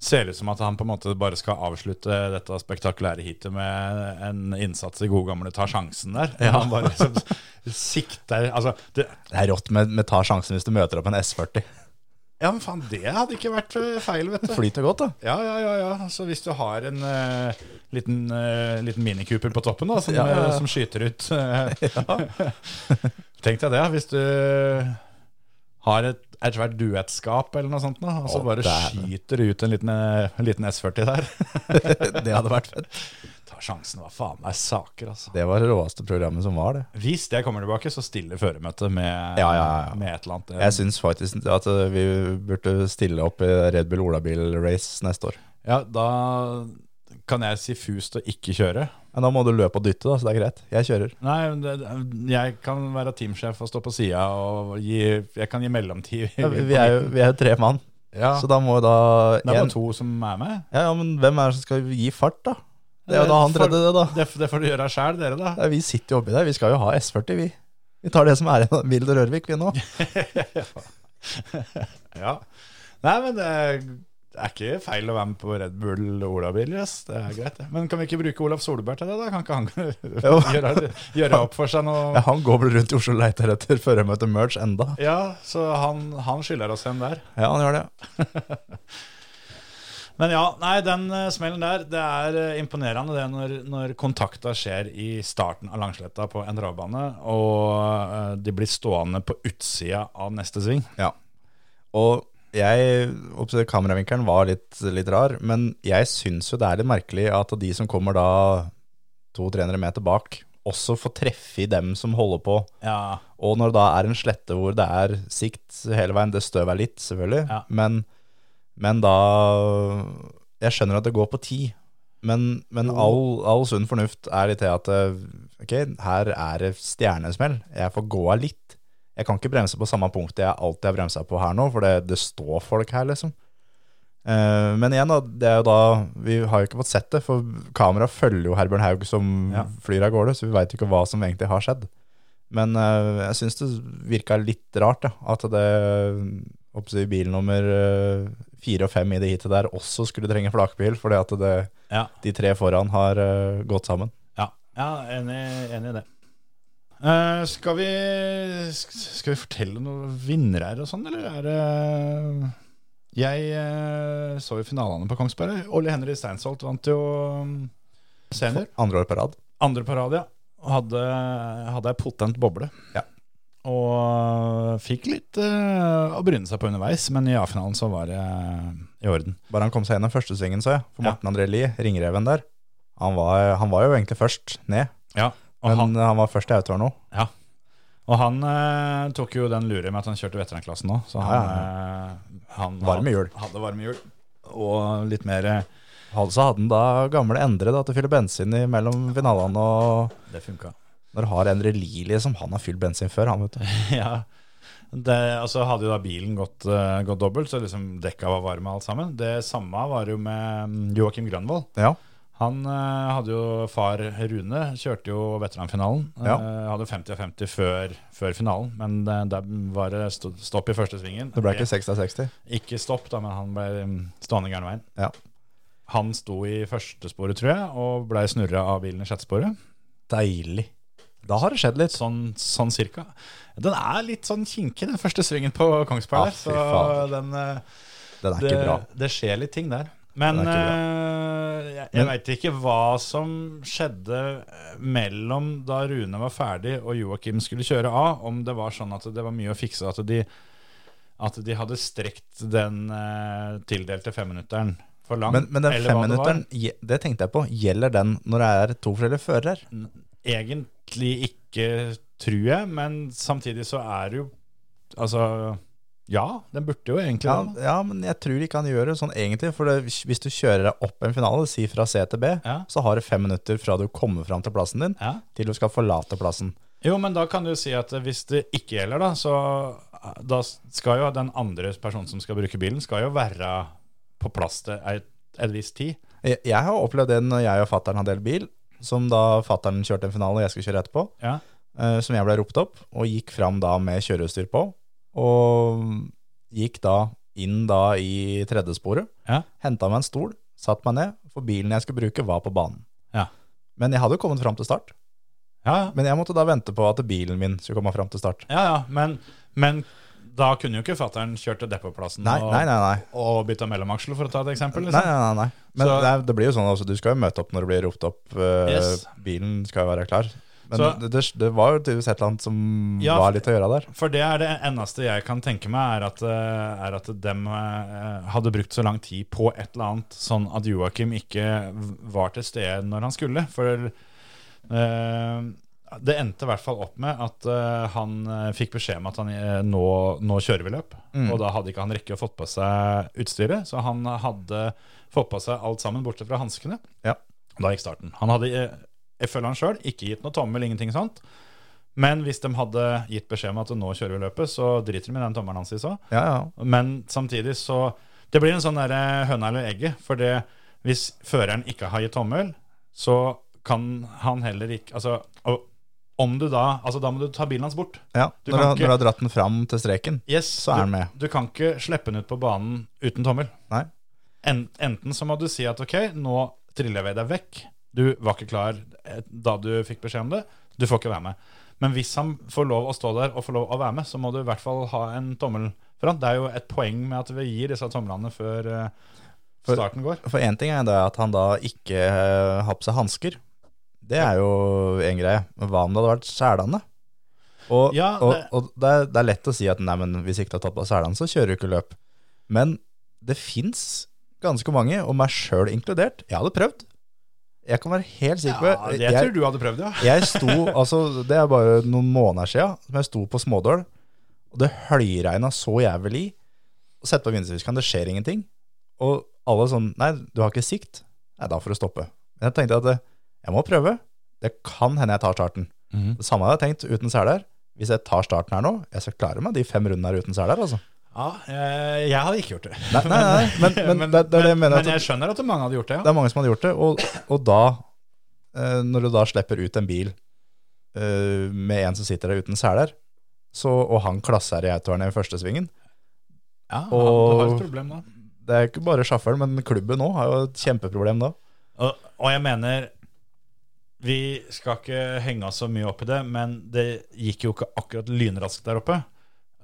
Speaker 3: ser ut som at han på en måte bare skal avslutte dette spektakulære heatet med en innsats i gode gamle ta sjansen der. Han bare liksom sikter Altså, det,
Speaker 4: Det er rått med, med ta sjansen hvis du møter opp en S40.
Speaker 3: ja, men faen, det hadde ikke vært feil, vet du.
Speaker 4: Flyter godt, da. *laughs*
Speaker 3: Ja, ja, ja, ja. Så hvis du har en eh, liten, uh, liten minikuper på toppen da, som,
Speaker 4: Ja, ja, ja.
Speaker 3: eh, som skyter ut
Speaker 4: *laughs*
Speaker 3: uh, *laughs* Tenk deg det, hvis du har et, et svært duettskap eller noe sånt, da, og så
Speaker 4: Å,
Speaker 3: bare
Speaker 4: dæven.
Speaker 3: skyter du ut en liten, eh, en liten S40
Speaker 4: *laughs*
Speaker 3: der.
Speaker 4: Det hadde vært fett.
Speaker 3: Ta sjansen, hva faen er saker, altså.
Speaker 4: Det var det råeste programmet som var, det.
Speaker 3: Hvis jeg kommer tilbake, så stiller føremøtet med,
Speaker 4: Ja, ja, ja.
Speaker 3: med et eller annet.
Speaker 4: Jeg syns faktisk at eh, vi burde stille opp i Red Bull Olabil Race neste år.
Speaker 3: Ja, da kan jeg si fust og ikke kjøre?
Speaker 4: Men da må du løpe og dytte, da, så det er greit. Jeg kjører.
Speaker 3: Nei, men det, jeg kan være teamsjef og stå på sida og gi Jeg kan gi mellomtid.
Speaker 4: Ja, vi, vi er jo, vi er jo tre mann,
Speaker 3: ja.
Speaker 4: så da må jo da
Speaker 3: Det er
Speaker 4: en-
Speaker 3: bare to som er med.
Speaker 4: Ja, ja, men hvem er det som skal gi fart, da? Det er jo da han
Speaker 3: For-
Speaker 4: tredje, det, da.
Speaker 3: Det, det får du gjøre sjæl, dere, da. *laughs*
Speaker 4: Ja, vi sitter jo oppi der. Vi skal jo ha S40, vi. Vi tar det som er igjen av Vild og Rørvik, vi nå.
Speaker 3: Ja. Nei, men det er det er ikke feil å være med på Red Bull Olabiler. ass. Det er greit, det. Men kan vi ikke bruke Olaf Solberg til det, da? Kan ikke
Speaker 4: Jo.
Speaker 3: han *laughs* gjøre, gjøre opp for seg
Speaker 4: Ja,
Speaker 3: noe?
Speaker 4: han går vel rundt i Oslo og leter etter førermøte merch enda.
Speaker 3: Ja, så han, han skylder oss en der.
Speaker 4: Ja, han gjør det.
Speaker 3: Men ja, nei, den eh, smellen der, det er eh, imponerende det når, når kontakta skjer i starten av Langsletta på en travbane, og eh, de blir stående på utsida av neste sving.
Speaker 4: Ja. Og jeg oppsett, Kameravinkelen var litt, litt rar, men jeg syns jo det er litt merkelig at de som kommer da 200-300 meter bak, også får treffe i dem som holder på.
Speaker 3: Ja,
Speaker 4: Og når det da er en slette hvor det er sikt hele veien, det støvet er litt, selvfølgelig,
Speaker 3: Ja.
Speaker 4: men, men da Jeg skjønner at det går på ti, men, men all, all sunn fornuft er litt det at eh, ok, her er det stjernesmell. Jeg får gå av litt. Jeg kan ikke bremse på samme punktet jeg alltid har bremsa på her nå, for det, det står folk her, liksom. Eh, men igjen, da, det er jo da Vi har jo ikke fått sett det, for kameraet følger jo Herbjørn Haug som
Speaker 3: Ja.
Speaker 4: flyr av gårde, så vi veit jo ikke hva som egentlig har skjedd. Men eh, jeg syns det virka litt rart ja, at det eh, oppsi, bil nummer eh, fire og fem i det heatet der også skulle trenge flakbil, fordi at det,
Speaker 3: ja,
Speaker 4: de tre foran har eh, gått sammen.
Speaker 3: ja, ja enig, enig i det. Eh, skal, vi, sk- skal vi fortelle noen vinnere her og sånn, eller er det Jeg eh, så jo finalene på Kongsberg. Ole Henry Steinsholt vant jo mm, senior.
Speaker 4: Andre år på rad.
Speaker 3: Andre på rad, ja. Hadde, hadde ei potent boble.
Speaker 4: Ja.
Speaker 3: Og fikk litt eh, å bryne seg på underveis, men i A-finalen så var det eh, i orden.
Speaker 4: Bare han kom seg gjennom første svingen, så jeg. For
Speaker 3: Ja.
Speaker 4: Morten André Lie, ringreven der, han var, eh, han var jo egentlig først ned.
Speaker 3: Ja, og
Speaker 4: Men
Speaker 3: han,
Speaker 4: han, var først i autoren nå.
Speaker 3: og han eh, tok jo den lure med at han kjørte veteranklassen òg, så han, eh, han
Speaker 4: Varme hjul.
Speaker 3: Hadde, hadde varme hjul. Og litt mer eh,
Speaker 4: Hadde- Så hadde han da gamle Endre da, til å fylle bensin i mellom finalene. Og
Speaker 3: Det funka.
Speaker 4: når du har Endre Lie, liksom, han har fylt bensin før, han, vet du.
Speaker 3: *laughs* ja. Det, altså hadde jo da bilen gått, eh, gått dobbelt, så liksom dekka var varme og alt sammen. Det samme var jo med mm, Joakim Grønvoll.
Speaker 4: Ja.
Speaker 3: Han eh, hadde jo far Rune, kjørte jo veteranfinalen.
Speaker 4: Ja.
Speaker 3: Eh, hadde 50 av 50 før, før finalen, men eh, der var det sto- stopp i første svingen.
Speaker 4: Det ble ikke 60 av 60.
Speaker 3: Ikke stopp, da, men han ble mm, stående gæren veien.
Speaker 4: Ja.
Speaker 3: Han sto i første sporet, tror jeg, og ble snurra av bilen i sjette sporet.
Speaker 4: Deilig. Da har det skjedd litt.
Speaker 3: Sånn, sånn cirka. Den er litt sånn kinkig, den første svingen på
Speaker 4: Ja,
Speaker 3: Kongsberg. der,
Speaker 4: fy fader.
Speaker 3: så den, eh,
Speaker 4: Den er
Speaker 3: det,
Speaker 4: ikke bra.
Speaker 3: det skjer litt ting der. Men
Speaker 4: Den er
Speaker 3: eh, jeg, jeg veit ikke hva som skjedde eh, mellom da Rune var ferdig og Joakim skulle kjøre av, om det var sånn at det var mye å fikse, at de, at de hadde strekt den eh, tildelte femminutteren for langt.
Speaker 4: Men, men den
Speaker 3: eller hva det var.
Speaker 4: femminutteren, det, det tenkte jeg på, gjelder den når det er to forskjellige førere?
Speaker 3: Egentlig ikke, tror jeg, men samtidig så er det jo Altså, ja, den burde jo egentlig
Speaker 4: Ja,
Speaker 3: det.
Speaker 4: ja, men jeg tror ikke han gjør det sånn egentlig. For det, hvis du kjører deg opp en finale, si fra C til B,
Speaker 3: Ja.
Speaker 4: så har du fem minutter fra du kommer fram til plassen din,
Speaker 3: Ja.
Speaker 4: til du skal forlate plassen.
Speaker 3: Jo, men da kan du si at hvis det ikke gjelder, da, så da skal jo den andre personen som skal bruke bilen, skal jo være på plass til et, et visst tid.
Speaker 4: Jeg, jeg har opplevd det når jeg og fattern hadde delt bil, som da fattern kjørte en finale og jeg skulle kjøre etterpå,
Speaker 3: Ja.
Speaker 4: eh, som jeg ble ropt opp, og gikk fram da med kjøreutstyr på, og gikk da inn da i tredje sporet,
Speaker 3: Ja.
Speaker 4: henta meg en stol, satt meg ned, for bilen jeg skulle bruke var på banen.
Speaker 3: Ja.
Speaker 4: Men jeg hadde jo kommet fram til start.
Speaker 3: Ja,
Speaker 4: Men jeg måtte da vente på at bilen min skulle komme fram til start.
Speaker 3: ja, ja men, men da kunne jo ikke fattern kjørt til depotplassen
Speaker 4: Nei,
Speaker 3: og,
Speaker 4: nei, nei. nei.
Speaker 3: og bytta mellomaksel, for å ta et eksempel.
Speaker 4: Nei,
Speaker 3: Liksom.
Speaker 4: nei, nei, nei. Men
Speaker 3: Så-
Speaker 4: det, er, det blir jo sånn altså, du skal jo møte opp når du blir ropt opp. eh,
Speaker 3: Yes.
Speaker 4: Bilen skal jo være klar. Men
Speaker 3: Så-
Speaker 4: det, det, det var jo tydeligvis et eller annet som
Speaker 3: Ja,
Speaker 4: var litt å gjøre der.
Speaker 3: For det er det eneste jeg kan tenke meg, er at, eh, er at dem eh, hadde brukt så lang tid på et eller annet, sånn at Joakim ikke v- var til stede når han skulle. For eh, Det endte i hvert fall opp med at eh, han eh, fikk beskjed om at han, eh, nå, nå kjører vi løp. Og da hadde ikke han rekke å fått på seg utstyret, så han hadde fått på seg alt sammen bortsett fra hanskene.
Speaker 4: Ja.
Speaker 3: Og Da gikk starten. Han hadde, eh, ifølge han sjøl, ikke gitt noe tommel, ingenting sånt. Men hvis de hadde gitt beskjed om at nå kjører vi løpet, så driter de i den tommelen hans de så.
Speaker 4: Ja, ja.
Speaker 3: Men samtidig så Det blir en sånn der eh, høna eller egget. For det, hvis føreren ikke har gitt tommel, så kan han heller ikke Altså, og om du da Altså, da må du ta bilen hans bort.
Speaker 4: ja. Når, du,
Speaker 3: Du kan
Speaker 4: har-
Speaker 3: ikke-
Speaker 4: når du har dratt den fram til streken.
Speaker 3: Yes,
Speaker 4: Så er han med.
Speaker 3: Du, du kan ikke slippe den ut på banen uten tommel.
Speaker 4: Nei.
Speaker 3: En, enten så må du si at ok, nå triller vi deg vekk. Du var ikke klar eh, da du fikk beskjed om det. Du får ikke være med. Men hvis han får lov å stå der og får lov å være med, så må du i hvert fall ha en tommel for han. Det er jo et poeng med at vi gir disse tomlene før eh,
Speaker 4: For-
Speaker 3: starten går.
Speaker 4: For én ting er det at han da ikke eh, har på seg hansker. Det er jo én greie. Men hva om det hadde vært selene? Og,
Speaker 3: Ja,
Speaker 4: og,
Speaker 3: det-
Speaker 4: og det, er, det er lett å si at nei, men hvis ikke du har tatt på deg selene, så kjører du ikke løp. Men det fins ganske mange, og meg sjøl inkludert. Jeg hadde prøvd. Jeg kan være helt sikker på
Speaker 3: Ja, det jeg tror du hadde prøvd, ja.
Speaker 4: jeg sto, altså Det er bare noen måneder siden som jeg sto på Smådøl, og det høljregna så jævlig. Og sette på vindusviskeren, det skjer ingenting. Og alle sånn Nei, du har ikke sikt. Nei, da får du stoppe. Men jeg tenkte at eh, jeg må prøve. Det kan hende jeg tar starten.
Speaker 3: Mhm.
Speaker 4: Det samme hadde jeg tenkt uten seler. Hvis jeg tar starten her nå, jeg skal klare meg de fem rundene her uten seler, altså.
Speaker 3: ja eh, jeg hadde ikke gjort det.
Speaker 4: Nei, nei, nei, men, men, det, det er det jeg mener. at-
Speaker 3: *laughs* Men jeg skjønner at mange hadde gjort det, ja.
Speaker 4: det er mange som hadde gjort det, og, og da, eh, når du da slipper ut en bil eh, med en som sitter der uten seler, så, og han klasser i autoren i første svingen,
Speaker 3: ja du
Speaker 4: og-
Speaker 3: har et problem da.
Speaker 4: det er ikke bare sjafferen, men klubben nå har jo et kjempeproblem da.
Speaker 3: Og, og jeg mener Vi skal ikke henge oss så mye opp i det, men det gikk jo ikke akkurat lynraskt der oppe.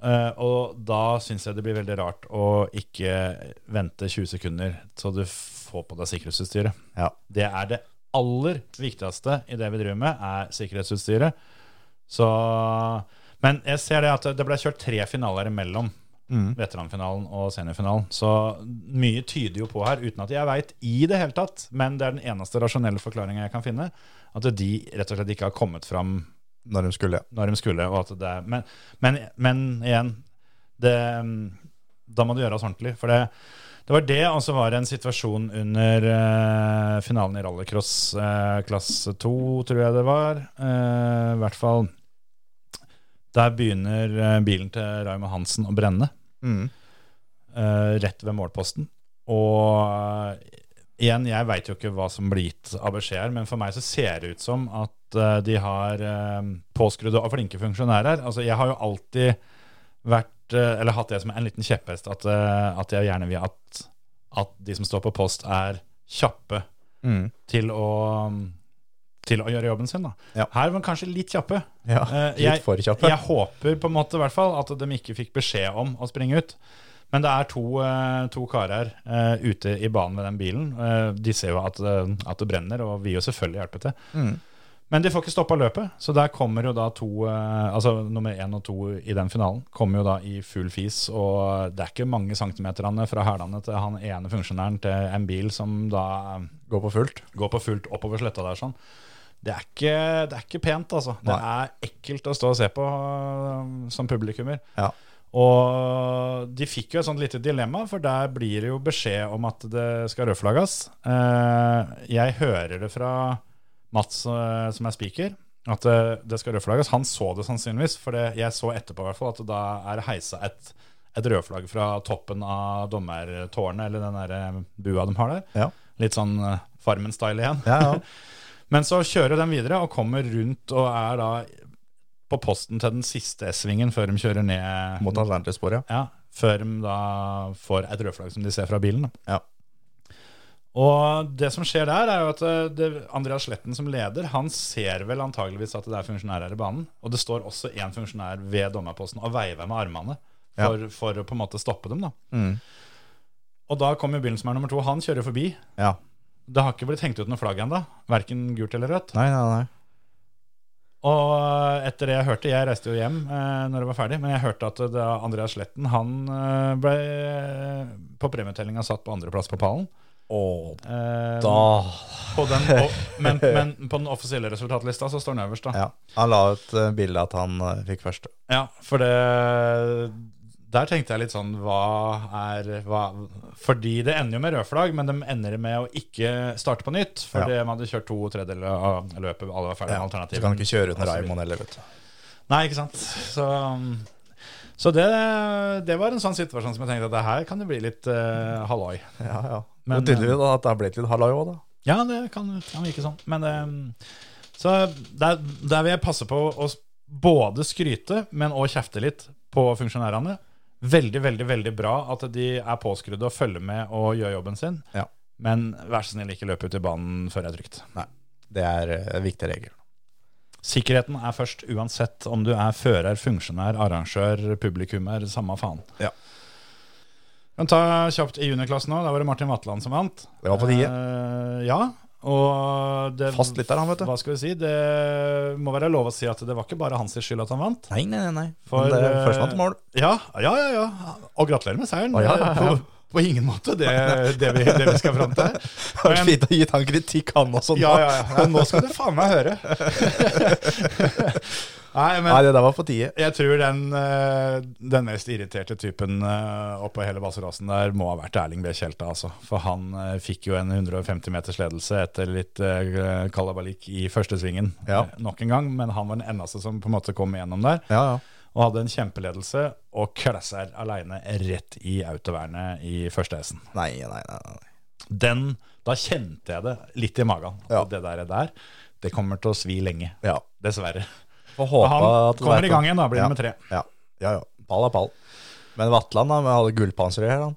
Speaker 3: Eh, og da syns jeg det blir veldig rart å ikke vente 20 sekunder så du får på deg sikkerhetsutstyret.
Speaker 4: Ja.
Speaker 3: Det er det aller viktigste i det vi driver med, er sikkerhetsutstyret. Så Men jeg ser det at det ble kjørt tre finaler imellom
Speaker 4: Mm.
Speaker 3: veteranfinalen og seniorfinalen. Så mye tyder jo på her, uten at jeg veit i det hele tatt, men det er den eneste rasjonelle forklaringa jeg kan finne, at de rett og slett ikke har kommet fram
Speaker 4: Når de skulle,
Speaker 3: når de skulle. Og at det er, men, men, men igjen, det, da må det gjøres ordentlig. For det, det var det, og så var det en situasjon under eh, finalen i rallycross eh, klasse 2, tror jeg det var. Eh, I hvert fall. Der begynner eh, bilen til Raymond Hansen å brenne
Speaker 4: Mm.
Speaker 3: eh, rett ved målposten. Og eh, igjen, jeg veit jo ikke hva som blir gitt av beskjed her, men for meg så ser det ut som at eh, de har eh, påskrudde og flinke funksjonærer. Altså, jeg har jo alltid vært eh, Eller hatt det som en liten kjepphest, at, eh, at jeg gjerne vil at, at de som står på post, er kjappe
Speaker 4: Mm.
Speaker 3: til å til å gjøre jobben sin. da.
Speaker 4: Ja.
Speaker 3: Her var de kanskje litt kjappe.
Speaker 4: ja,
Speaker 3: Eh,
Speaker 4: litt
Speaker 3: jeg-
Speaker 4: for kjappe.
Speaker 3: Jeg håper på en måte i hvert fall at de ikke fikk beskjed om å springe ut. Men det er to, eh, to karer eh, ute i banen med den bilen. Eh, de ser jo at, eh, at det brenner, og vil jo selvfølgelig hjelpe til.
Speaker 4: Mm.
Speaker 3: Men de får ikke stoppa løpet, så der kommer jo da to eh, Altså nummer én og to i den finalen kommer jo da i full fis, og det er ikke mange centimeterne fra hælene til han ene funksjonæren til en bil som da eh,
Speaker 4: Gå på fullt.
Speaker 3: gå på fullt oppover sletta der sånn. Det er ikke, det er ikke pent, altså. Det er ekkelt å stå og se på øh, som publikummer.
Speaker 4: Ja.
Speaker 3: Og de fikk jo et sånt lite dilemma, for der blir det jo beskjed om at det skal rødflagges. Eh, Jeg hører det fra Mats, eh, som er speaker, at eh, det skal rødflagges. Han så det sannsynligvis, for det, jeg så etterpå i hvert fall at da er det heisa et, et rødflagg fra toppen av dommertårnet, eller den der eh, bua de har der.
Speaker 4: Ja.
Speaker 3: Litt sånn eh, Farmen-style igjen.
Speaker 4: Ja, ja.
Speaker 3: *laughs* Men så kjører den videre og kommer rundt og er da på posten til den siste S-svingen før de kjører ned
Speaker 4: Mot alternativt spor, ja.
Speaker 3: Ja, før de da får et rødflagg som de ser fra bilen. Da.
Speaker 4: Ja.
Speaker 3: Og det som skjer der, er jo at eh, det, Andreas Sletten som leder, han ser vel antageligvis at det er funksjonærer her i banen. Og det står også én funksjonær ved dommerposten og veiver med armene for, for å på en måte stoppe dem. da.
Speaker 4: Mm.
Speaker 3: Og da kommer bilen som er nummer to. Han kjører forbi.
Speaker 4: Ja.
Speaker 3: Det har ikke blitt hengt ut noe flagg ennå, verken gult eller rødt.
Speaker 4: Nei, nei, nei.
Speaker 3: Og etter det jeg hørte, jeg reiste jo hjem eh, når det var ferdig, men jeg hørte at det, eh, Andreas Sletten han eh, ble eh, på premietellinga satt på andreplass på pallen.
Speaker 4: Og
Speaker 3: Eh,
Speaker 4: da
Speaker 3: på den,
Speaker 4: *laughs*
Speaker 3: og, men, men på den offisielle resultatlista så står den øverst, da.
Speaker 4: Ja. Han la ut eh, bilde at han eh, fikk første.
Speaker 3: Ja, for det Der tenkte jeg litt sånn Hva er hva, Fordi det ender jo med rød flagg, men de ender med å ikke starte på nytt.
Speaker 4: Ja.
Speaker 3: For de hadde kjørt to tredjedeler av løpet. Alle var ferdige
Speaker 4: Ja, så
Speaker 3: med alternativet.
Speaker 4: kan han ikke kjøre uten
Speaker 3: Og så videre.
Speaker 4: Raymond heller, vet du.
Speaker 3: Nei, ikke sant. Så, så det, det var en sånn situasjon som jeg tenkte at det her kan det bli litt eh, halloi.
Speaker 4: Ja, ja.
Speaker 3: Men, eh,
Speaker 4: Men tydeligvis da, at det har blitt litt halloi òg, da.
Speaker 3: Ja, det kan, kan virke sånn. Men eh, Så der, der vil jeg passe på å s- både skryte, men òg kjefte litt på funksjonærene. Veldig, veldig veldig bra at de er påskrudde og følger med og gjør jobben sin.
Speaker 4: Ja.
Speaker 3: Men vær så snill, ikke løp ut i banen før det er trygt.
Speaker 4: Det er eh, en viktig regel.
Speaker 3: Sikkerheten er først, uansett om du er fører, funksjonær, arrangør, publikummer, samme faen.
Speaker 4: Ja.
Speaker 3: Men ta kjapt i juniorklassen nå. Da var det Martin Vatland som vant.
Speaker 4: Det var på tide.
Speaker 3: Eh, ja, og det,
Speaker 4: Fast litt der, han, vet du.
Speaker 3: Eh, Hva skal vi si? Det må være lov å si at det var ikke bare hans skyld at han vant.
Speaker 4: Nei, nei, nei. nei.
Speaker 3: For,
Speaker 4: Men det
Speaker 3: eh,
Speaker 4: førstemann til mål.
Speaker 3: Ja, ja, ja. ja. Og gratulerer med seieren.
Speaker 4: Å, ja, ja, ja.
Speaker 3: På, på ingen måte det, det, vi, det vi *laughs* skal *laughs* fram
Speaker 4: *laughs*
Speaker 3: til.
Speaker 4: Det var fint å gi han kritikk, han også. nå.
Speaker 3: Ja, ja, ja. Nå skal du faen meg *laughs* høre. Nei, men
Speaker 4: Nei, det der var på tide.
Speaker 3: jeg tror den, eh, den mest irriterte typen eh, oppå hele baserasen der må ha vært Erling B. Kjelta, altså. For han eh, fikk jo en 150 meters ledelse etter litt eh, kalabalik i første svingen
Speaker 4: Ja.
Speaker 3: eh, nok en gang, men han var den eneste som på en måte kom igjennom der.
Speaker 4: Ja, ja.
Speaker 3: Og hadde en kjempeledelse og klasser aleine rett i autovernet i første hesten.
Speaker 4: Nei, nei, nei. nei.
Speaker 3: Den, da kjente jeg det litt i magen.
Speaker 4: Ja.
Speaker 3: At det der, der, det kommer til å svi lenge.
Speaker 4: Ja.
Speaker 3: Dessverre.
Speaker 4: Får
Speaker 3: Og
Speaker 4: håpe
Speaker 3: han
Speaker 4: at det
Speaker 3: kommer
Speaker 4: er-
Speaker 3: i gang igjen, da blir det
Speaker 4: ja.
Speaker 3: nummer tre.
Speaker 4: Ja, ja. ja. Pall er pall. Men Vatland han hadde gullpanser i her, han.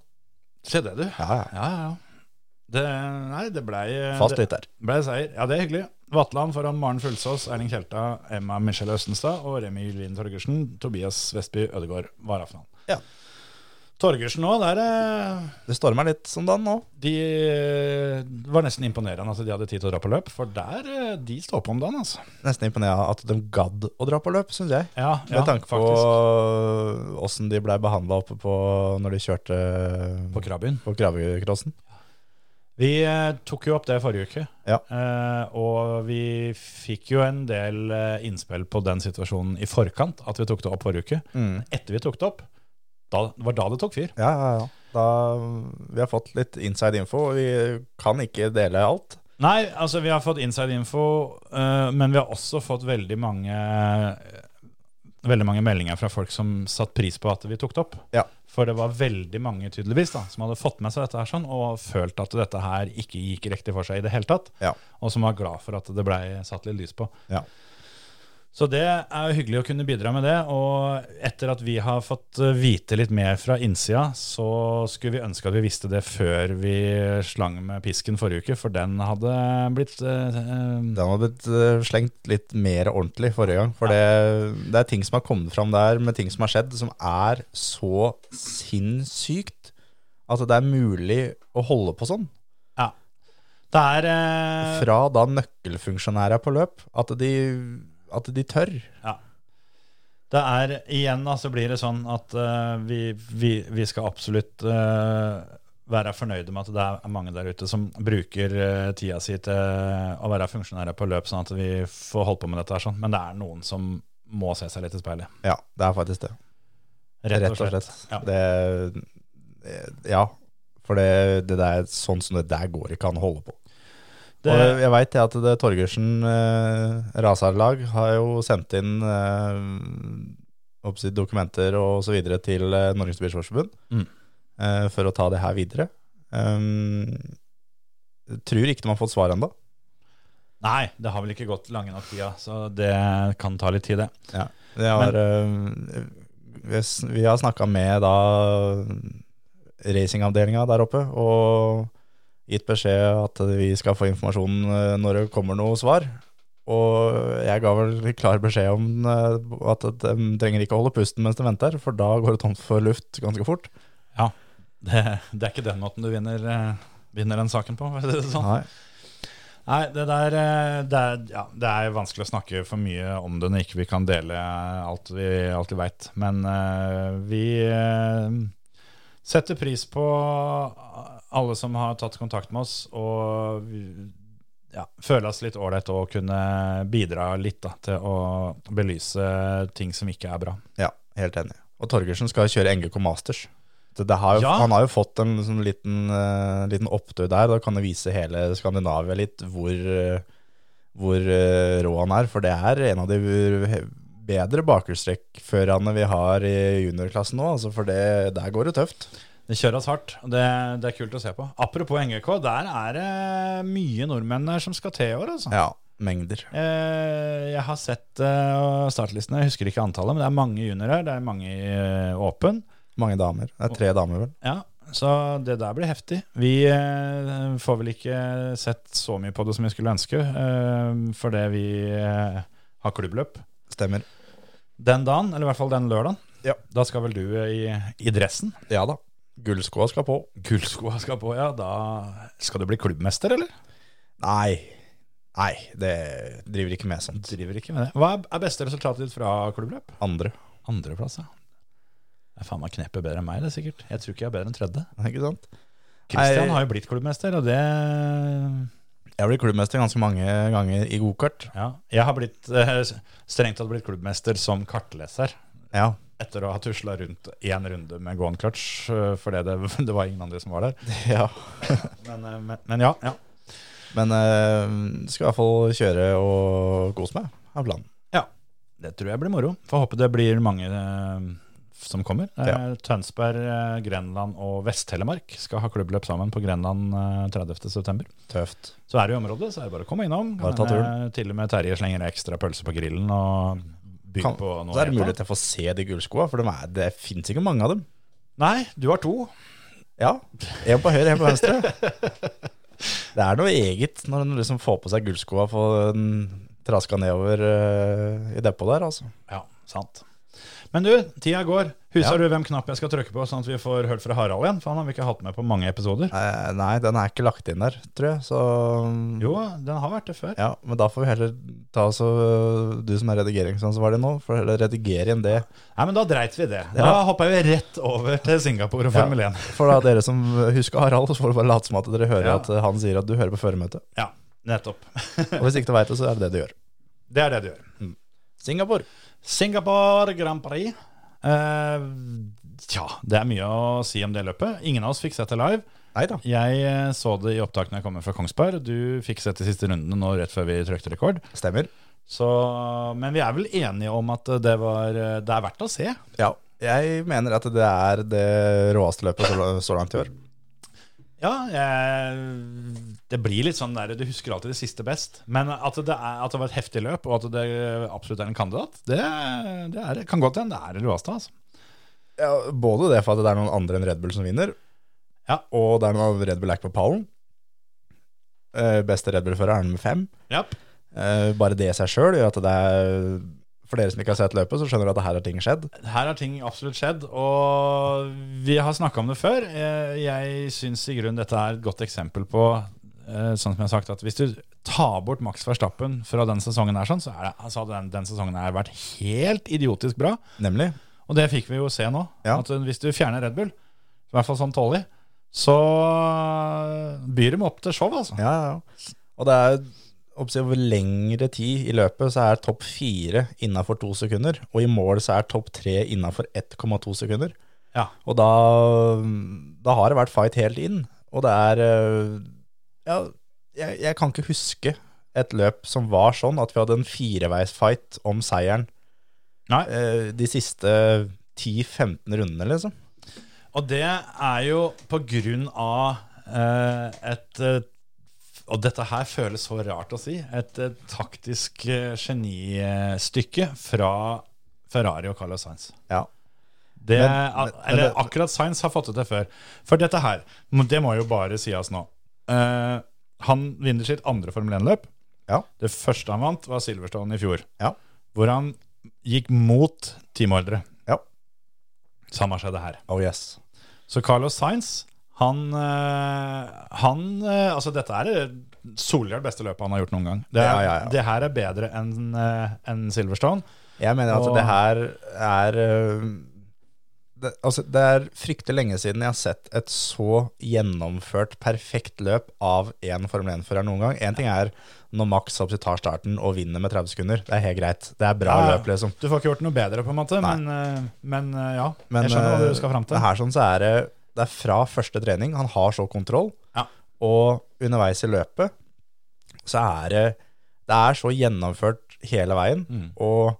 Speaker 3: Se det, du.
Speaker 4: Ja, ja.
Speaker 3: Ja, ja, ja. Det, nei, det blei
Speaker 4: Fast litt der.
Speaker 3: det blei seier. Ja, det er hyggelig. Vatland foran Maren Fulsås, Erling Kjelta, Emma Michelle Østenstad og Remi Julien Torgersen. Tobias Vestby Ødegaard var aften.
Speaker 4: Ja.
Speaker 3: Torgersen òg, der eh,
Speaker 4: Det stormer litt som den nå.
Speaker 3: De eh, var nesten imponerende at de hadde tid til å dra på løp, for der eh, de står på om dagen, altså.
Speaker 4: Nesten imponerende at de gadd å dra på løp, syns jeg.
Speaker 3: Ja,
Speaker 4: Med tanke på åssen de blei behandla oppe på når de kjørte
Speaker 3: På krabbyen.
Speaker 4: på Krabbekrossen.
Speaker 3: Vi eh, tok jo opp det forrige uke,
Speaker 4: Ja.
Speaker 3: eh, og vi fikk jo en del eh, innspill på den situasjonen i forkant, at vi tok det opp forrige uke.
Speaker 4: Mm.
Speaker 3: Etter vi tok det opp, da, det var da det tok fyr.
Speaker 4: Ja, ja, ja. Da, vi har fått litt inside info, og vi kan ikke dele alt.
Speaker 3: Nei, altså vi har fått inside info, eh, men vi har også fått veldig mange Veldig mange meldinger fra folk som satte pris på at vi tok det opp.
Speaker 4: Ja.
Speaker 3: For det var veldig mange tydeligvis da, som hadde fått med seg dette her sånn, og følt at dette her ikke gikk riktig for seg i det hele tatt.
Speaker 4: Ja.
Speaker 3: Og som var glad for at det ble satt litt lys på.
Speaker 4: Ja.
Speaker 3: Så det er jo hyggelig å kunne bidra med det. Og etter at vi har fått eh, vite litt mer fra innsida, så skulle vi ønske at vi visste det før vi slang med pisken forrige uke, for den hadde blitt eh, eh,
Speaker 4: Den hadde blitt eh, slengt litt mer ordentlig forrige gang. For det, det er ting som har kommet fram der, med ting som har skjedd, som er så sinnssykt at det er mulig å holde på sånn.
Speaker 3: Ja. Det er eh,
Speaker 4: Fra da nøkkelfunksjonærer på løp, at de, at de tør.
Speaker 3: Det er igjen da, så blir det sånn at eh, vi, vi, vi skal absolutt eh, være fornøyde med at det er mange der ute som bruker eh, tida si til eh, å være funksjonærer på løp, sånn at vi får holdt på med dette her sånn. Men det er noen som må se seg litt i speilet.
Speaker 4: Ja, det er faktisk det.
Speaker 3: Rett og slett. Ja.
Speaker 4: Det, det- ja. For det, det der, sånn som det der går ikke an å holde på.
Speaker 3: Det,
Speaker 4: Og jeg veit at det Torgersen eh, raserlag har jo sendt inn eh, hva skal jeg si, dokumenter og så videre til eh, Norges Bilsportsforbund
Speaker 3: Mm.
Speaker 4: eh, for å ta det her videre. Um, jeg tror ikke de har fått svar ennå.
Speaker 3: nei, det har vel ikke gått lange nok tida, så det kan ta litt tid, det. *laughs*
Speaker 4: Det har, eh, vi s- vi har snakka med da racingavdelinga der oppe og gitt beskjed at vi skal få informasjon eh, når det kommer noe svar. Og jeg ga vel klar beskjed om eh, at de trenger ikke å holde pusten mens de venter, for da går det tomt for luft ganske fort.
Speaker 3: Det, det er ikke den måten du vinner, eh, vinner den saken på, for å si det sånn.
Speaker 4: Nei.
Speaker 3: Nei, det der eh, det er, ja, det er vanskelig å snakke for mye om det når ikke vi kan dele alt vi, alt vi veit. Men eh, vi eh, setter pris på alle som har tatt kontakt med oss og vi- ja, føler oss litt ålreit og kunne bidra litt da, til å belyse ting som ikke er bra.
Speaker 4: Ja, helt enig. Og Torgersen skal kjøre NGK Masters. Det, det har jo,
Speaker 3: Ja.
Speaker 4: Han har jo fått en sånn liten, eh, liten opptur der. Da kan det vise hele Skandinavia litt hvor, eh, hvor eh, rå han er. For det er en av de v- bedre bakhjulstrekkførerne vi har i juniorklassen nå. Altså for det, der går det tøft.
Speaker 3: Det kjøres hardt, og det, det er kult å se på. Apropos NGK, der er det mye nordmenn der som skal til i år, altså.
Speaker 4: Ja, mengder.
Speaker 3: Eh, Jeg har sett eh, startlistene, jeg husker ikke antallet, men det er mange juniorer, det er mange i eh, åpen.
Speaker 4: Mange damer. Det er tre damer, vel.
Speaker 3: Ja, så det der blir heftig. Vi eh, får vel ikke sett så mye på det som vi skulle ønske, eh, fordi vi eh, har klubbløp
Speaker 4: Stemmer.
Speaker 3: den dagen, eller i hvert fall den lørdagen.
Speaker 4: Ja.
Speaker 3: Da skal vel du eh, i, i dressen?
Speaker 4: Ja da. Gullskoa skal på.
Speaker 3: Gullskoa skal på, ja. Da skal du bli klubbmester, eller?
Speaker 4: Nei. Nei, det driver ikke med sånt.
Speaker 3: Driver ikke med det. Hva er- er beste resultatet ditt fra klubbløp?
Speaker 4: Andre.
Speaker 3: Andreplass, ja. Det er faen meg kneppet bedre enn meg, det er sikkert. Jeg tror ikke jeg er bedre enn tredje.
Speaker 4: Ikke sant?
Speaker 3: Kristian
Speaker 4: Nei.
Speaker 3: har jo blitt klubbmester, og det
Speaker 4: Jeg ble klubbmester ganske mange ganger i gokart.
Speaker 3: Ja. Jeg har blitt eh, strengt tatt blitt klubbmester som kartleser.
Speaker 4: Ja.
Speaker 3: Etter å ha tusla rundt én runde med gående clutch, eh, fordi det, *laughs* det var ingen andre som
Speaker 4: *laughs*
Speaker 3: var der. *laughs* Men, eh, men, men ja, ja.
Speaker 4: Men eh, skal i hvert fall kjøre og kose meg, er planen.
Speaker 3: Det tror jeg blir moro. Får håpe det blir mange eh, som kommer. Det er Tønsberg, eh, Grenland og Vest-Telemark skal ha klubbløp sammen på Grenland eh, 30. september.
Speaker 4: Tøft.
Speaker 3: Så er du i området, så er det bare å komme innom.
Speaker 4: Bare ta
Speaker 3: hende Til og med Terje slenger ekstra pølse på grillen og bygger
Speaker 4: Kan,
Speaker 3: på noe.
Speaker 4: så er det
Speaker 3: helt
Speaker 4: mulig
Speaker 3: annet.
Speaker 4: til å få se de gullskoa, for de er, det fins ikke mange av dem.
Speaker 3: Nei, du har to.
Speaker 4: Ja, En på høyre, en på
Speaker 3: *laughs*
Speaker 4: venstre. Det er noe eget når en liksom får på seg gullskoa og får den traska nedover eh, i depotet der, altså.
Speaker 3: Ja, sant. Men du, tida går. Husker du hvem knapp jeg skal trykke på, sånn at vi får hørt fra Harald igjen? For han har vi ikke hatt med på mange episoder.
Speaker 4: Eh, nei, den er ikke lagt inn der, tror jeg, så
Speaker 3: Jo, den har vært det før.
Speaker 4: Ja, men da får vi heller ta så Du som er redigeringsansvarlig nå, får heller redigere inn det.
Speaker 3: Nei, men da dreit vi det. Da
Speaker 4: Ja.
Speaker 3: hoppa vi rett over til Singapore og
Speaker 4: Ja.
Speaker 3: Formel 1.
Speaker 4: For da dere som husker Harald, så får du bare late som at dere hører
Speaker 3: Ja.
Speaker 4: at han sier at du hører på føremøtet.
Speaker 3: Ja, nettopp.
Speaker 4: Og hvis ikke du veit det, så er det det du gjør.
Speaker 3: Det er det du gjør.
Speaker 4: Singapore.
Speaker 3: Singapore Grand Prix. Eh, tja, det er mye å si om det løpet. Ingen av oss fikk sett det live.
Speaker 4: Nei da.
Speaker 3: Jeg eh, så det i opptak når jeg kom fra Kongsberg. Du fikk sett de siste rundene nå rett før vi trykte rekord.
Speaker 4: Stemmer.
Speaker 3: Så, men vi er vel enige om at det, var, eh, det er verdt å se.
Speaker 4: Ja. Jeg mener at det er det råeste løpet så la- så langt i år.
Speaker 3: Ja, jeg, det blir litt sånn der Du husker alltid det siste best. Men at det, er, at det var et heftig løp, og at det absolutt er en kandidat, det, det er, kan godt hende det er det råeste. Altså.
Speaker 4: Ja, både det for at det er noen andre enn Red Bull som vinner,
Speaker 3: Ja.
Speaker 4: og det er noen Red Bull er ikke på pallen. Eh, Beste Red Bull-fører er nummer fem.
Speaker 3: Japp.
Speaker 4: Eh, Bare det i seg sjøl gjør at det er For dere som ikke har sett løpet, så skjønner du at her har ting skjedd.
Speaker 3: Her har ting absolutt skjedd, og vi har snakka om det før. Eh, Jeg syns i grunnen dette er et godt eksempel på eh, Sånn som jeg har sagt at Hvis du tar bort Max Verstappen fra den sesongen, her, sånn, så er det, altså, hadde den, den sesongen her vært helt idiotisk bra.
Speaker 4: Nemlig.
Speaker 3: Og det fikk vi jo se nå.
Speaker 4: Ja.
Speaker 3: At Hvis du fjerner Red Bull, i hvert fall sånn tålelig, så eh, byr de opp til show, altså.
Speaker 4: Ja, ja, ja. Og det er oppsett, over lengre tid i løpet så er topp fire innafor to sekunder, og i mål så er topp tre innafor 1,2 sekunder.
Speaker 3: Ja.
Speaker 4: Og da, da har det vært fight helt inn. Og det er øh, Ja, jeg, jeg kan ikke huske et løp som var sånn at vi hadde en fireveisfight om seieren
Speaker 3: Nei.
Speaker 4: eh, de siste 10-15 rundene, liksom.
Speaker 3: Og det er jo på grunn av eh, et eh, Og dette her føles så rart å si. Et eh, taktisk eh, genistykke fra Ferrari og Carlos Sainz.
Speaker 4: Ja.
Speaker 3: Det,
Speaker 4: Men-
Speaker 3: a-
Speaker 4: men- men
Speaker 3: eller
Speaker 4: det-
Speaker 3: akkurat Sainz har fått det til før. For dette her, må- det må jo bare sies nå. Eh, han vinner sitt andre Formel 1-løp.
Speaker 4: Ja.
Speaker 3: Det første han vant, var Silverstone i fjor.
Speaker 4: Ja.
Speaker 3: Hvor han gikk mot teamordre.
Speaker 4: Ja.
Speaker 3: Samme skjedde her.
Speaker 4: Oh yes.
Speaker 3: Så Carlos Sainz, han, eh, han eh, Altså, dette er det soleklart beste løpet han har gjort noen gang. Det, er,
Speaker 4: Ja, ja, ja.
Speaker 3: det her er bedre enn eh, enn Silverstone.
Speaker 4: Jeg mener at
Speaker 3: Og-
Speaker 4: det her er øh, eh, det, altså, det er fryktelig lenge siden jeg har sett et så gjennomført, perfekt løp av én Formel 1-fører noen gang. Én ting er når Max Hopsi tar starten og vinner med 30 sekunder. Det er helt greit. Det er bra
Speaker 3: Ja,
Speaker 4: løp, liksom.
Speaker 3: Du får ikke gjort noe bedre, på en måte,
Speaker 4: Nei.
Speaker 3: men, eh, men eh, ja.
Speaker 4: Men,
Speaker 3: jeg skjønner hva
Speaker 4: eh,
Speaker 3: du skal fram til.
Speaker 4: det Her sånn så er det, det er fra første trening. Han har så kontroll.
Speaker 3: Ja.
Speaker 4: Og underveis i løpet så er det Det er så gjennomført hele veien.
Speaker 3: Mm.
Speaker 4: Og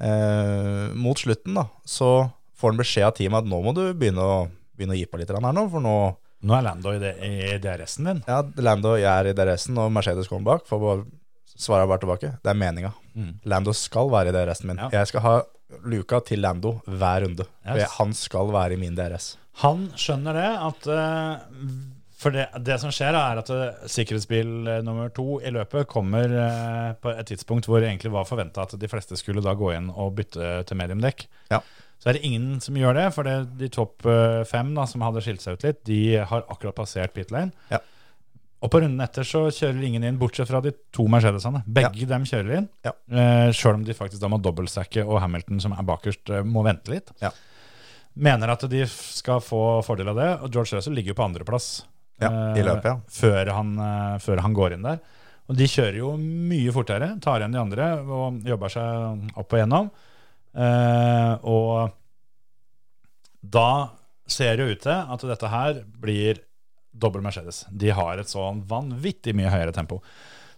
Speaker 4: eh, mot slutten da så får han beskjed av teamet at nå må du begynne å, begynne å gi på litt grann her nå, for nå
Speaker 3: Nå er Lando i, det, i DRS-en din.
Speaker 4: ja, Lando jeg er i DRS-en, og Mercedes kommer bak. Får bare svare bare tilbake. Det er meninga.
Speaker 3: Mm.
Speaker 4: Lando skal være i DRS-en min.
Speaker 3: Ja.
Speaker 4: Jeg skal ha luka til Lando hver runde. For
Speaker 3: Yes.
Speaker 4: jeg- Han skal være i min DRS.
Speaker 3: Han skjønner det at eh, For det, det som skjer, er at eh, sikkerhetsbil eh, nummer to i løpet kommer eh, på et tidspunkt hvor det egentlig var forventa at de fleste skulle da gå inn og bytte til mediumdekk.
Speaker 4: Ja.
Speaker 3: Så er det ingen som gjør det, for det, de topp eh, fem da, som hadde skilt seg ut litt, de har akkurat passert pit lane.
Speaker 4: Ja.
Speaker 3: Og på runden etter så kjører ingen inn, bortsett fra de to Mercedesene. Begge dem kjører inn,
Speaker 4: Ja.
Speaker 3: eh, sjøl om de faktisk da må dobbeltstacke, og Hamilton, som er bakerst, eh, må vente litt mener at de f- skal få fordel av det. Og George Russell ligger jo på andreplass Eh,
Speaker 4: Ja, i løpet, ja.
Speaker 3: før, han, eh, før han går inn der. Og de kjører jo mye fortere, tar igjen de andre og jobber seg opp og gjennom. Eh, og da ser det jo ut til at dette her blir dobbel Mercedes. De har et sånn vanvittig mye høyere tempo.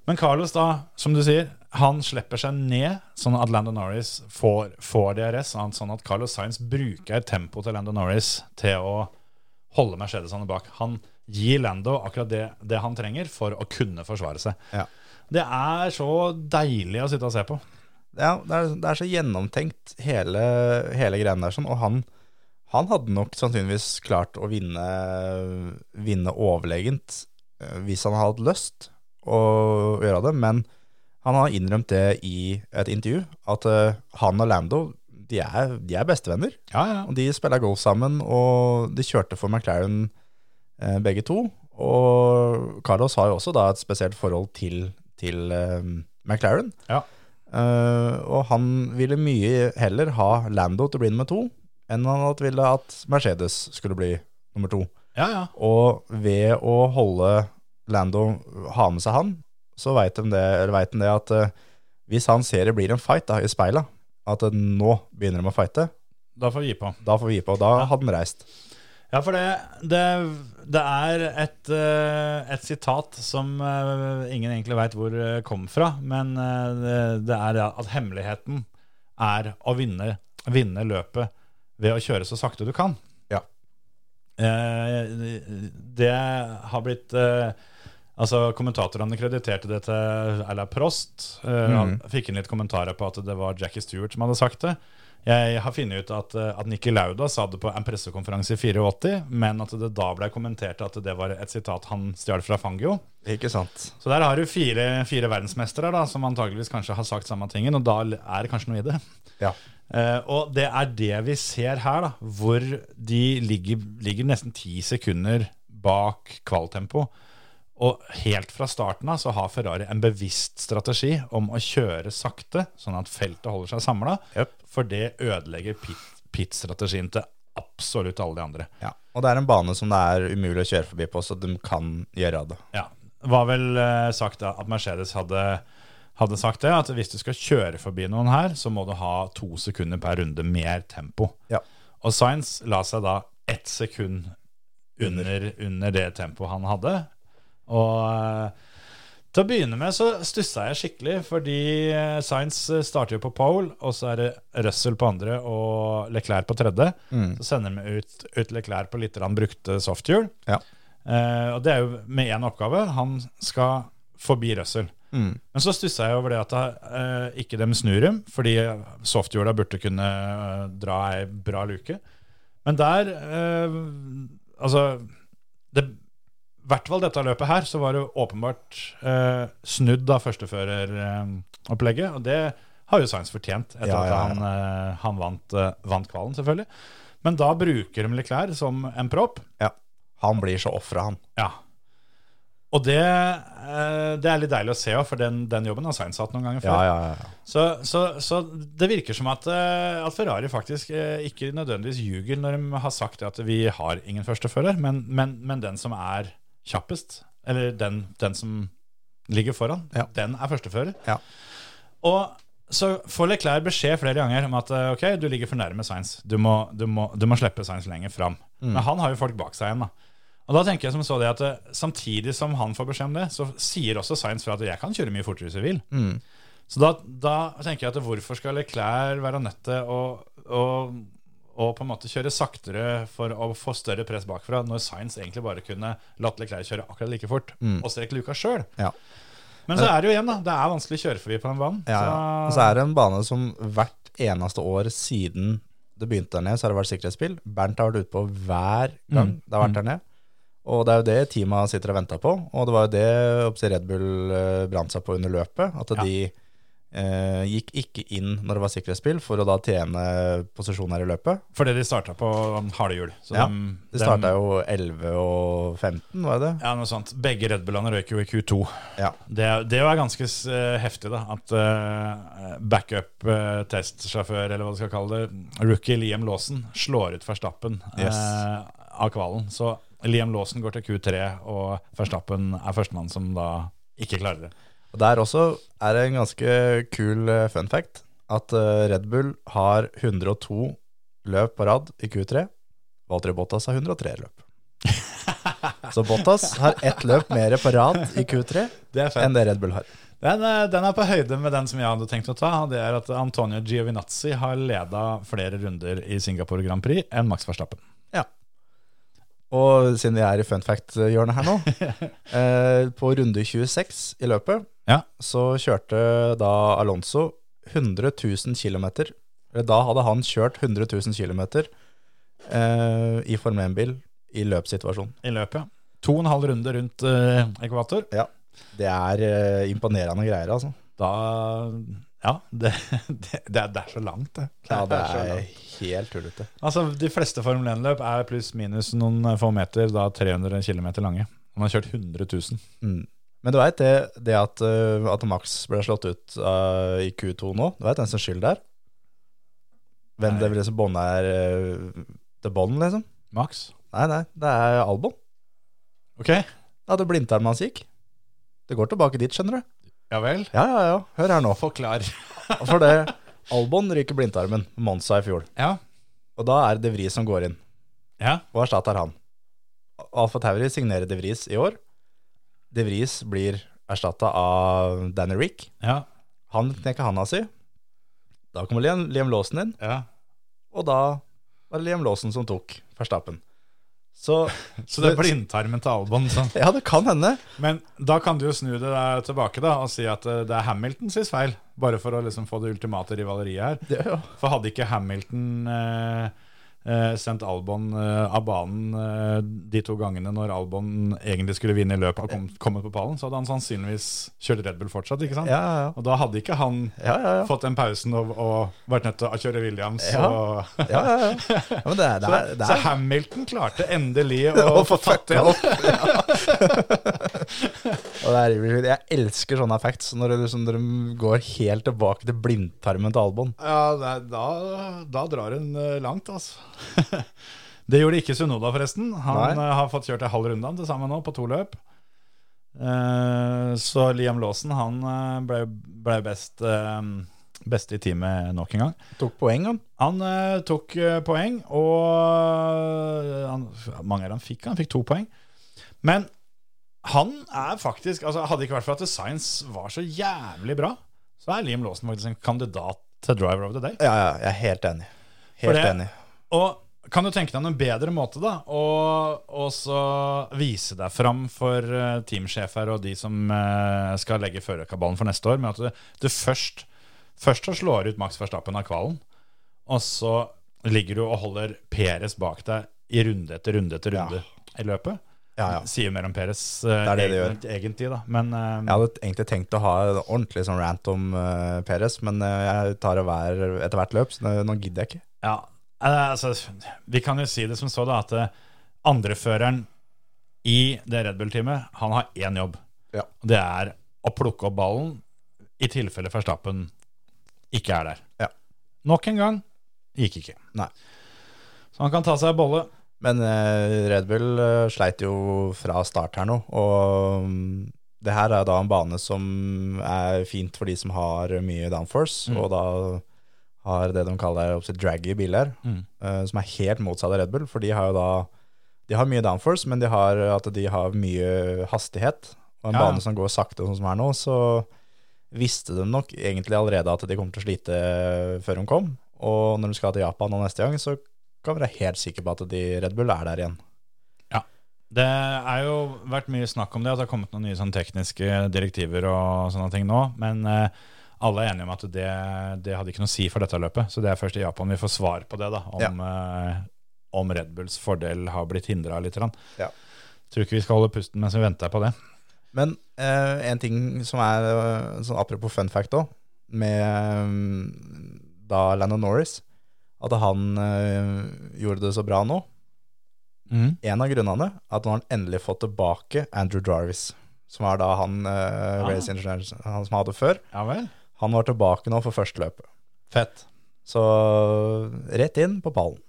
Speaker 3: Men Carlos, da, som du sier, han slipper seg ned, sånn at Lando Norris får, får DRS. sånn- Sånn at Carlos Sainz bruker tempoet til Lando Norris til å holde Mercedesene bak. Han gir Lando akkurat det, det han trenger for å kunne forsvare seg.
Speaker 4: Ja.
Speaker 3: Det er så deilig å sitte og se på.
Speaker 4: ja, det, er, det er så gjennomtenkt hele, hele greien der sånn, og han, han hadde nok sannsynligvis klart å vinne, vinne overlegent eh, hvis han hadde hatt lyst å gjøre det, men han har innrømt det i et intervju, at eh, han og Lando, de er, de er bestevenner,
Speaker 3: Ja, ja.
Speaker 4: og de spiller golf sammen, og de kjørte for McLaren eh, begge to, og Carlos har jo også da et spesielt forhold til, til eh, McLaren,
Speaker 3: ja.
Speaker 4: Eh, og han ville mye heller ha Lando til å bli nummer to, enn han at ville at Mercedes skulle bli nummer to.
Speaker 3: ja, ja.
Speaker 4: Og ved å holde Lando ha med seg han, så veit han det, eller vet han det at eh, hvis han ser det blir en fight da, i speila, at eh, nå begynner de å fighte,
Speaker 3: Da får vi gi på.
Speaker 4: da får vi gi på. Da hadde han reist.
Speaker 3: Ja, for det, det, det er et, eh, et sitat som eh, ingen egentlig veit hvor eh, kom fra, men eh, det, det er det at hemmeligheten er å vinne, vinne løpet ved å kjøre så sakte du kan.
Speaker 4: Ja.
Speaker 3: Eh, det har blitt eh, Altså Kommentatorene krediterte det til Erla Prost. Eh, Han fikk inn litt kommentarer på at det var Jackie Stewart som hadde sagt det. Jeg har funnet ut at, eh, at Nikki Lauda sa det på en pressekonferanse i 84, men at det da ble kommentert at det var et sitat han stjal fra Fangio.
Speaker 4: Ikke sant.
Speaker 3: Så der har du fire, fire verdensmestere da, som antageligvis kanskje har sagt samme tingen, og da er det kanskje noe i det.
Speaker 4: Ja.
Speaker 3: Eh, og det er det vi ser her, da, hvor de ligger, ligger nesten ti sekunder bak kvaltempo. Og helt fra starten av så har Ferrari en bevisst strategi om å kjøre sakte, sånn at feltet holder seg samla,
Speaker 4: Jep.
Speaker 3: for det ødelegger pit- pit-strategien til absolutt alle de andre.
Speaker 4: ja. Og det er en bane som det er umulig å kjøre forbi på, så de kan gjøre det.
Speaker 3: Ja, var vel eh, sagt da, at Mercedes hadde, hadde sagt det, at hvis du skal kjøre forbi noen her, så må du ha to sekunder per runde mer tempo.
Speaker 4: Ja.
Speaker 3: Og Sainz la seg da ett sekund under, under det tempoet han hadde. Og eh, til å begynne med så stussa jeg skikkelig, fordi eh, Sainz eh, starter jo på pole, og så er det Russell på andre og Leclerc på tredje. Så sender vi ut, ut Leclerc på litt grann brukte softhjul.
Speaker 4: Ja.
Speaker 3: Eh, og det er jo med én oppgave. Han skal forbi Russell.
Speaker 4: Mm.
Speaker 3: Men så stussa jeg over det at eh, ikke dem snur dem, fordi softhjula burde kunne eh, dra ei bra luke. Men der eh, Altså, det, i hvert fall dette løpet her, så var det åpenbart eh, snudd av førsteføreropplegget. og det har jo Sainz fortjent, etter
Speaker 4: Ja, ja, ja.
Speaker 3: at han, eh, han vant, eh, vant kvalen, selvfølgelig. Men da bruker de Leclerc som en propp.
Speaker 4: ja. Han blir så ofra, han.
Speaker 3: Ja. Og det, eh, det er litt deilig å se, også, for den, den jobben har Sainz hatt noen ganger før.
Speaker 4: Ja, ja, ja.
Speaker 3: Så, så, så det virker som at, eh, at Ferrari faktisk eh, ikke nødvendigvis ljuger når de har sagt at vi har ingen førstefører, men, men, men den som er kjappest, eller den, den som ligger foran,
Speaker 4: Ja.
Speaker 3: den er førstefører.
Speaker 4: Ja.
Speaker 3: Og så får Leclerc beskjed flere ganger om at eh, ok, du ligger for nærme Sainz. Du må, du må, du må slippe Sainz lenger fram.
Speaker 4: Mm.
Speaker 3: Men han har jo folk bak seg igjen, da. Og da tenker jeg som så det at eh, Samtidig som han får beskjed om det, så sier også Sainz fra at jeg kan kjøre mye fortere hvis jeg vil.
Speaker 4: Mm.
Speaker 3: Så da, da tenker jeg at hvorfor skal Leclerc være nødt til å, å, å på en måte kjøre saktere for å få større press bakfra, når Sainz egentlig bare kunne latt Leclerc kjøre akkurat like fort
Speaker 4: Mm.
Speaker 3: og strekke luka sjøl?
Speaker 4: Ja.
Speaker 3: Men så er det jo igjen, da. Det er vanskelig å kjøre forbi på den banen.
Speaker 4: Ja, ja. Og så er det en bane som hvert eneste år siden det begynte der nede, så har det vært sikkerhetsspill. Bernt har vært ute på hver gang det har vært der nede. Og det er jo det teama sitter og venter på, og det var jo det oppsi Red Bull eh, brant seg på under løpet. At de eh, gikk ikke inn når det var sikkerhetsspill, for å da tjene posisjoner i løpet.
Speaker 3: Fordi de starta på um, harde hjul. Så
Speaker 4: Ja,
Speaker 3: dem-
Speaker 4: De starta jo 11 og 15, var det det?
Speaker 3: Ja, noe sånt. Begge Red Bullene røyk jo i Q2.
Speaker 4: Ja.
Speaker 3: Det, det var ganske s- eh, heftig, da. At eh, backup eh, testsjåfør, eller hva du skal kalle det, rookie Liam Lawson, slår ut Verstappen eh,
Speaker 4: Yes.
Speaker 3: av kvalen. Så Liam Lawson går til Q3, og Verstappen er førstemann som da ikke klarer det.
Speaker 4: Og der også er det en ganske kul eh, fun fact at eh, Red Bull har 102 løp på rad i Q3. Valtteri Bottas har 103 løp. Så Bottas har ett løp mer på rad i Q3
Speaker 3: Det er
Speaker 4: enn det Red Bull har.
Speaker 3: Den, eh, den er på høyde med den som jeg hadde tenkt å ta. og Det er at Antonio Giovinazzi har leda flere runder i Singapore Grand Prix enn Max Verstappen.
Speaker 4: Og siden vi er i fun fact-hjørnet
Speaker 3: *laughs*
Speaker 4: her nå, eh, på runde 26 i løpet,
Speaker 3: Ja.
Speaker 4: så kjørte da Alonso 100 000 km. Da hadde han kjørt 100 000 km eh, i Formel 1-bil i løpssituasjon.
Speaker 3: I løpet. To og en halv runde rundt eh, ekvator.
Speaker 4: Det er eh, imponerende greier, altså.
Speaker 3: Da Ja, det, *laughs* det, det, er, det er så langt, det.
Speaker 4: Ja, det
Speaker 3: så
Speaker 4: er
Speaker 3: langt.
Speaker 4: helt tullete.
Speaker 3: Altså, De fleste Formel 1-løp er pluss-minus noen få meter, da 300 km lange. Han har kjørt 100 000.
Speaker 4: Mm. Men du veit det, det at, eh, at Max ble slått ut eh, i Q2 nå, du veit hvem som skyld det er? Hvem
Speaker 3: Nei.
Speaker 4: det blir som bånda er eh, til bånd, liksom?
Speaker 3: Maks.
Speaker 4: Nei, nei, det er Albon.
Speaker 3: Ok,
Speaker 4: Det hadde blindtarmen hans gikk. Det går tilbake dit, skjønner du.
Speaker 3: ja vel.
Speaker 4: Ja, ja, ja. Hør her nå.
Speaker 3: Forklar.
Speaker 4: For det, Albon ryker blindtarmen, Monza i fjor.
Speaker 3: Ja.
Speaker 4: Og da er det De Vries som går inn.
Speaker 3: ja.
Speaker 4: Og erstatter han. Alfa Tauri signerer De Vries i år. De Vries blir erstatta av Danny Rick.
Speaker 3: Ja.
Speaker 4: Han knekker handa si. Da kommer Liam, Liam Lawson inn,
Speaker 3: ja.
Speaker 4: og da var det Liam Lawson som tok Verstappen. Så *laughs*
Speaker 3: Så det er blindtarmen til Albon. Sånn.
Speaker 4: ja, det kan hende.
Speaker 3: Men da kan du jo snu det der tilbake da og si at eh, det er Hamilton sin feil. Bare for å liksom få det ultimate rivaleriet her.
Speaker 4: Det, ja.
Speaker 3: For hadde ikke Hamilton eh, eh, sendt Albon eh, av banen eh, de to gangene når Albon egentlig skulle vinne i løpet og kom, kommet på pallen, så hadde han sannsynligvis kjørt Red Bull fortsatt, ikke sant?
Speaker 4: Ja, ja,
Speaker 3: Og da hadde ikke han
Speaker 4: ja. ja, ja, ja.
Speaker 3: fått den pausen og, og vært nødt til å kjøre Williams.
Speaker 4: Ja.
Speaker 3: Og,
Speaker 4: ja, ja, ja. ja men det, er- det, er- *laughs* det
Speaker 3: så
Speaker 4: er
Speaker 3: Hamilton klarte endelig
Speaker 4: *laughs* Å
Speaker 3: å
Speaker 4: få
Speaker 3: få tatt det opp.
Speaker 4: *laughs* og det er, Jeg elsker sånne facts, når det liksom, når de går helt tilbake til blindtarmen til Albon.
Speaker 3: Ja, det er- da, da drar hun eh, langt, altså. *laughs* det gjorde ikke Sunoda, forresten. Han
Speaker 4: Nei.
Speaker 3: eh, har fått kjørt en halv runde han til sammen nå, på to løp. Eh, så Liam Lawson han eh, ble, ble best, eh, best i teamet nok en gang.
Speaker 4: Tok poeng, han.
Speaker 3: Han eh, tok eh, poeng, og han, mange av dem fikk han. Fikk to poeng. Men han er faktisk altså Hadde det ikke vært for at Science var så jævlig bra, så er Liam Lawson faktisk en kandidat til Driver of the Day.
Speaker 4: Ja, ja, jeg er helt enig.
Speaker 3: For
Speaker 4: Helt
Speaker 3: det-
Speaker 4: enig.
Speaker 3: Og kan du tenke deg noen bedre måte da å å så vise deg fram for eh, teamsjefer og de som eh, skal legge førerkabalen for neste år, med at du, du først, først så slår ut Max Verstappen av kvalen, og så ligger du og holder Peres bak deg i runde etter runde etter runde i løpet.
Speaker 4: Ja, ja.
Speaker 3: Sier mer om Peres eh,
Speaker 4: er det det
Speaker 3: egentlig, egentlig, da. Men eh,
Speaker 4: Jeg hadde egentlig tenkt å ha en ordentlig sånn rant om eh, Perez, men eh, jeg tar det hver, etter hvert løp, så nå, nå gidder jeg ikke.
Speaker 3: Ja, eh, altså, vi kan jo si det som så da, at eh, andreføreren i det Red Bull-teamet, han har én jobb.
Speaker 4: Ja.
Speaker 3: Og Det er å plukke opp ballen i tilfelle Verstappen ikke er der.
Speaker 4: Ja.
Speaker 3: Nok en gang gikk ikke.
Speaker 4: Nei.
Speaker 3: Så han kan ta seg en bolle.
Speaker 4: Men eh, Red Bull eh, sleit jo fra start her nå, og mm, det her er da en bane som er fint for de som har mye downforce,
Speaker 3: Mm.
Speaker 4: og da har det de kaller oppsett draggy biler,
Speaker 3: Mm.
Speaker 4: eh, som er helt motsatt av Red Bull, for de har jo da de har mye downforce, men de har, at de har mye hastighet, og en
Speaker 3: Ja, ja.
Speaker 4: bane som går sakte sånn som er nå, så visste de nok egentlig allerede at de kom til å slite før de kom, og når de skal til Japan nå neste gang, så kan være helt sikker på at de Red Bull er der igjen.
Speaker 3: Det er jo vært mye snakk om det, at det har kommet noen nye sånn tekniske direktiver og sånne ting nå. Men eh, alle er enige om at det, det hadde ikke noe å si for dette løpet. Så det er først i Japan vi får svar på det, da. Om, eh, om Red Bulls fordel har blitt hindra litt. grann.
Speaker 4: Ja.
Speaker 3: Tror ikke vi skal holde pusten mens vi venter på det.
Speaker 4: Men eh, en ting som er eh, sånn apropos fun fact òg, med eh, da Landon Norris At han eh, gjorde det så bra nå. En av grunnene er at nå har han endelig fått tilbake Andrew Jarvis, som er da han eh,
Speaker 3: Ah.
Speaker 4: raceingeniøren han som han hadde før.
Speaker 3: Ja vel.
Speaker 4: Han var tilbake nå for første løpet.
Speaker 3: Fett.
Speaker 4: Så rett inn på pallen.